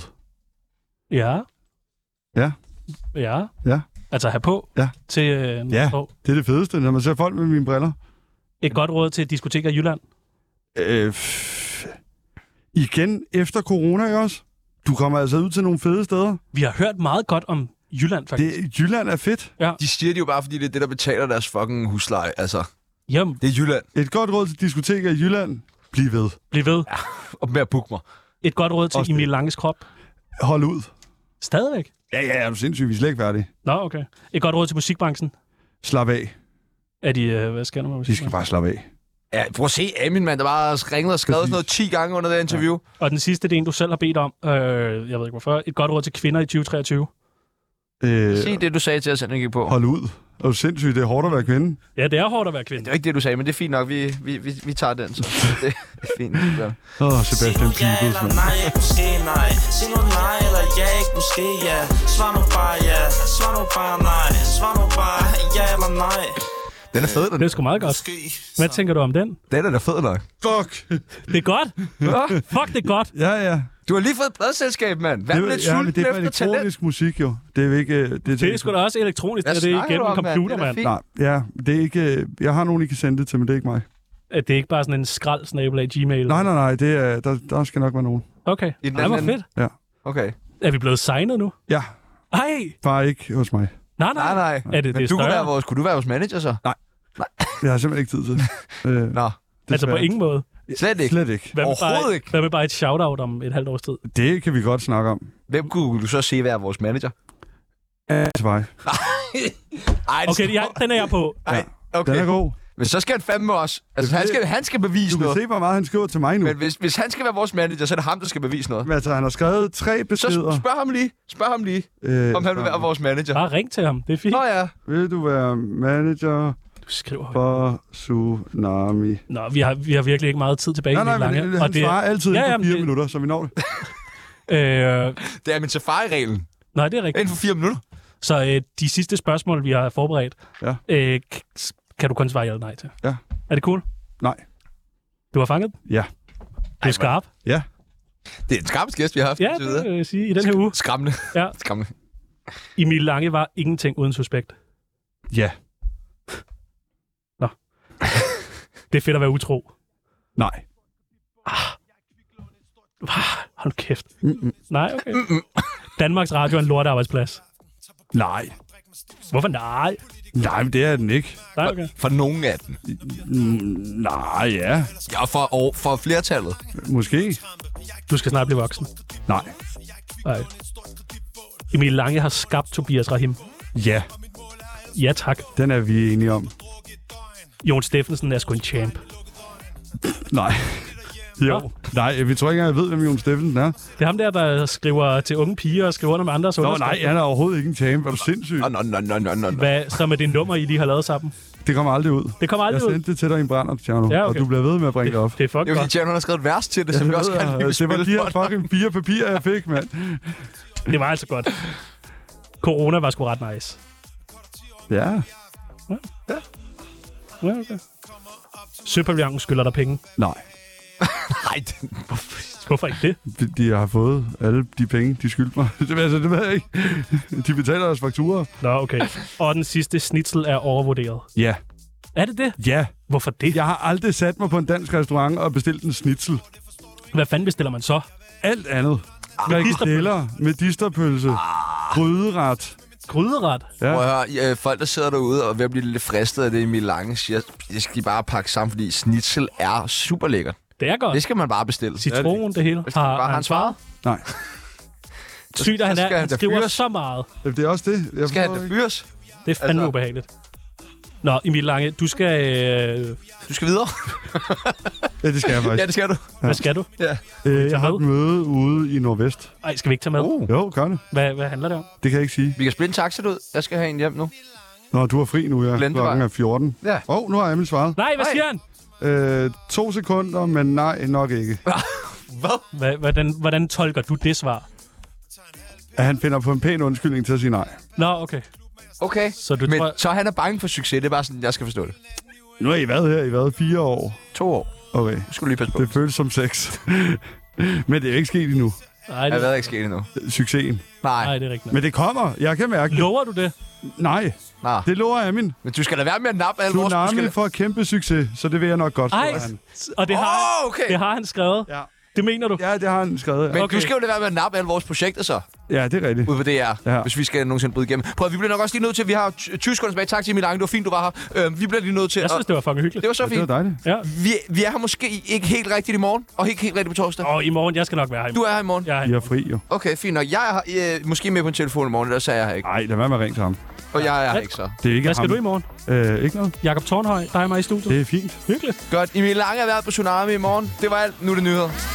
Ja. Ja. Ja. Ja. Altså have på Ja. til øh, Ja. ja. Det er det fedeste, når man ser folk med mine briller. Et godt råd til diskoteker i Jylland. Øh, f- igen efter corona, ikke også? Du kommer altså ud til nogle fede steder. Vi har hørt meget godt om Jylland, faktisk. Det, Jylland er fedt. De siger det jo bare, fordi det er det, der betaler deres fucking husleje. Altså, Det... Jamen, det er Jylland. Et godt råd til diskoteker i Jylland. Bliv ved. bliv ved. Og med at booke mig. Et godt råd til Også det. Emil Langes krop. Hold ud. Stadigvæk. Ja, ja, er du sindssygt. Vi er slet ikke færdige. Nå, okay. Et godt råd til musikbranchen. Slap af. Er de, øh, hvad sker der med De skal musikbranchen? bare slappe af. Ja, prøv at se Amin, mand, der bare har ringet og skrevet sådan noget 10 gange under det interview. Ja. Og den sidste, det er en, du selv har bedt om. Øh, jeg ved ikke hvorfor. Et godt råd til kvinder i 2023. Øh, Se det, du sagde til os, han gik på. hold ud. Er du sindssygt. Det er hårdt at være kvinde. Ja, det er hårdt at være kvinde. Det var ikke det, du sagde, men det er fint nok. Vi, vi, vi, vi tager den, så det er fint. Åh, oh, Sig nu Sebastian ja Pibels, eller mand. nej, ikke måske nej Sig nu nej eller ja, ikke måske ja Svar nu bare ja, svar nu bare nej Svar nu bare ja eller nej Den er fed, den. Det er sgu meget godt. Hvad tænker du om den? Den er da fed nok. Fuck! Det er godt. Fuck, det er godt. Ja, ja. Du har lige fået et pladselskab, mand. Hvad Det, med lidt ja, men sulten det er efter bare talent? elektronisk musik, jo. Det er jo ikke... øh, Det, Det er sgu da også elektronisk, Hvad og det er snakker igennem du en om, mand? computer, Det er da mand. fint. Nej, ja, det er ikke... øh, Jeg har nogen, I kan sende det til, men det er ikke mig. At det er ikke bare sådan en skrald af Gmail. Nej, nej, nej, det er, der, der skal nok være nogen. Okay. I den Ej, hvor anden fedt. Okay. Er vi blevet signet nu? Ja, Ej! bare ikke hos mig. Nej, nej. Nej, nej. Er det, Men det du kunne, være større? vores, kunne du være vores manager så? Nej. Jeg har simpelthen ikke tid til. Øh, Nå, Altså på desværre. ingen måde. slet ikke. Slet ikke. Hvad med, Overhovedet bare, ikke. hvad med bare et shout-out om et halvt års tid? Det kan vi godt snakke om. Hvem kunne du så se være vores manager? Til mig. Ej, det Okay, skal- jeg, den er jeg på. Ej, okay. Den er god. Men så skal han fandme også. Altså, han skal, han skal Du bevise kan noget. se, hvor meget han skriver til mig nu. Men hvis, hvis han skal være vores manager, så er det ham, der skal bevise noget. Men, altså, han har skrevet tre Så beskeder. sp- spørg ham lige, spørg ham lige, øh, om han vil være vores manager. Bare ring til ham. Det er fint. Nå ja, Vil du være manager Du skriver. for Tsunami? Nå, vi har, vi har virkelig ikke meget tid tilbage. Nej, i nej, Mikkel men Lange, han det, svarer altid Ja, ja, jamen, på fire det- det... minutter, så vi når det. Øh, det er min safari-reglen. nej, det er rigtigt. Inden for fire minutter. Så øh, de sidste spørgsmål, vi har forberedt, Ja. øh, k- kan du kun svare ja eller nej til. Ja. Er det cool? Nej. Du har fanget den? Ja. Du er skarp? Ja. Det er den skarpeste gæst, vi har haft. Ja, indtil det videre. vil jeg sige. I den her uge. Skræmmende. Ja. Skræmmende. Emil Lange var ingenting uden suspekt. Ja. Det er fedt at være utro. Nej. Hold nu kæft. Mm-mm. Nej, okay. Danmarks Radio er en lort arbejdsplads. Nej. Hvorfor nej? Nej, men det er den ikke. Nej, okay. For nogen af dem. Nej, ja. Ja, for, og for flertallet. Måske. Du skal snart blive voksen. Nej. Nej. Emil Lange har skabt Tobias Rahim. Ja, Ja, tak. den er vi enige om. Jon Steffensen er sgu en champ. Nej. Jo. Nej, vi tror ikke engang, jeg ved, hvem Jon Steffensen er. Det er ham der, der skriver til unge piger og skriver under med andres Nå, nej, han er overhovedet ikke en champ. Er du sindssyg? Nå, nå, nå, nå, nå, nå, nå. Hvad, som er det nummer, I lige har lavet sammen? Det kommer aldrig ud. Det kommer Jeg aldrig ud. sendte det til dig i en brænder, Tjerno, Ja, ja, okay. okay. og du bliver ved med at bringe det, op. Det er Det fucking er fordi, godt. Jan har skrevet vers til det, som vi Jeg også ved, gerne vil at det var spille de her for. fucking fire papirer, jeg fik, mand. Det var altså godt. Corona var sgu ret nice. Ja. Ja, okay. Søpavillonen skylder dig penge. Nej. Nej, det- Hvorfor ikke det? De- De har fået alle de penge, de skyldte mig. Det, altså, det ved jeg ikke. De betaler deres fakturer. Nå, okay. Og den sidste snitsel er overvurderet. Ja. Er det det? Ja. Hvorfor det? Jeg har aldrig sat mig på en dansk restaurant og bestilt en snitsel. Hvad fanden bestiller man så? Alt andet. Ah, Frikadeller, medisterpølse, gryderet. Gryderet? Ja. Prøv at høre, øh, folk, der sidder derude og er ved at blive lidt fristet af det, Emil Lange siger, det skal de bare pakke sammen, fordi snitsel er super lækkert. Det er godt. Det skal man bare bestille. Citron, det hele. Hvis Har, det bare har han han svaret? Nej. Sygt, at han Så er. skal Han han da skriver fyres. så meget. Det er også det. Jeg Skal han forstår da ikke. fyres? Det er fandme Altså- ubehageligt. Nå, Emil Lange, du skal... Øh, Du skal videre. Ja, det skal jeg ja, faktisk. det skal du. hvad skal du? Øh, Jeg har med. et møde ude i Nordvest. Ej, skal vi ikke tage med? Uh. Jo, gør det. Hvad, hvad handler det om? Det kan jeg ikke sige. Vi kan spille en taxa ud. Jeg skal have en hjem nu. Nå, du er fri nu, ja. Glendevej. Klokken er 14. Ja. Åh, oh, nu har Emil svaret. Nej, hvad Ej. siger han? Øh, to sekunder, men nej, nok ikke. Hvad? Hva- Hvordan, hvordan tolker du det svar? At han finder på en pæn undskyldning til at sige nej. Nå, okay. Okay. Så du Men tror- så han er bange for succes. Det er bare sådan, jeg skal forstå det. Nu har I været her i hvad, fire år? To år. Okay, Du skulle lige passe på. det føles som seks. men det er jo ikke sket endnu, Nej, Jeg det, ved ikke sket endnu. succesen. Nej, nej, det er rigtigt. nok. Men det kommer, jeg kan mærke det. Lover du det? Nej, nej. det lover jeg min. Men du skal da være med at nappe alle vores... Tsunami skal... får kæmpe succes, så det vil jeg nok godt. Ej, skriver han. og det har, Åh, okay. det har han skrevet. Ja. Det mener du? Ja, det har han skrevet. Men okay. Ja, du Okay. skal jo lade være med at nappe alle vores projekter så, ja det er rigtigt. ude på DR, ja. Ja. hvis vi skal nogensinde bryde igennem. Prøv, vi bliver nok også lige nødt til, vi har ty- 20 sekunder tilbage. Tak til Emil Lange, det var fint, du var her. Øh, vi bliver lige nødt til... Jeg synes, at... det var fucking hyggeligt. det var så Det fint. var dejligt. Ja. Vi, vi er her måske ikke helt rigtigt i morgen, og ikke helt rigtigt på torsdag. Og i morgen, jeg skal nok være her. i Du morgen. er her i morgen? Jeg er I her. er fri, jo. Okay, fint nok. Jeg er her, øh, måske med på en telefon i morgen, ellers er jeg her ikke. Nej, lad være med at ringe til ham. Og jeg er her Ja. ikke så. Det er ikke Hvad skal ham. du i morgen? Øh, ikke noget. Jakob Tornhøj, dig og mig i studiet. Det er fint. Hyggeligt. Godt. Emil Lange har været på Tsunami i morgen. Det var alt. Nu er det nyheder.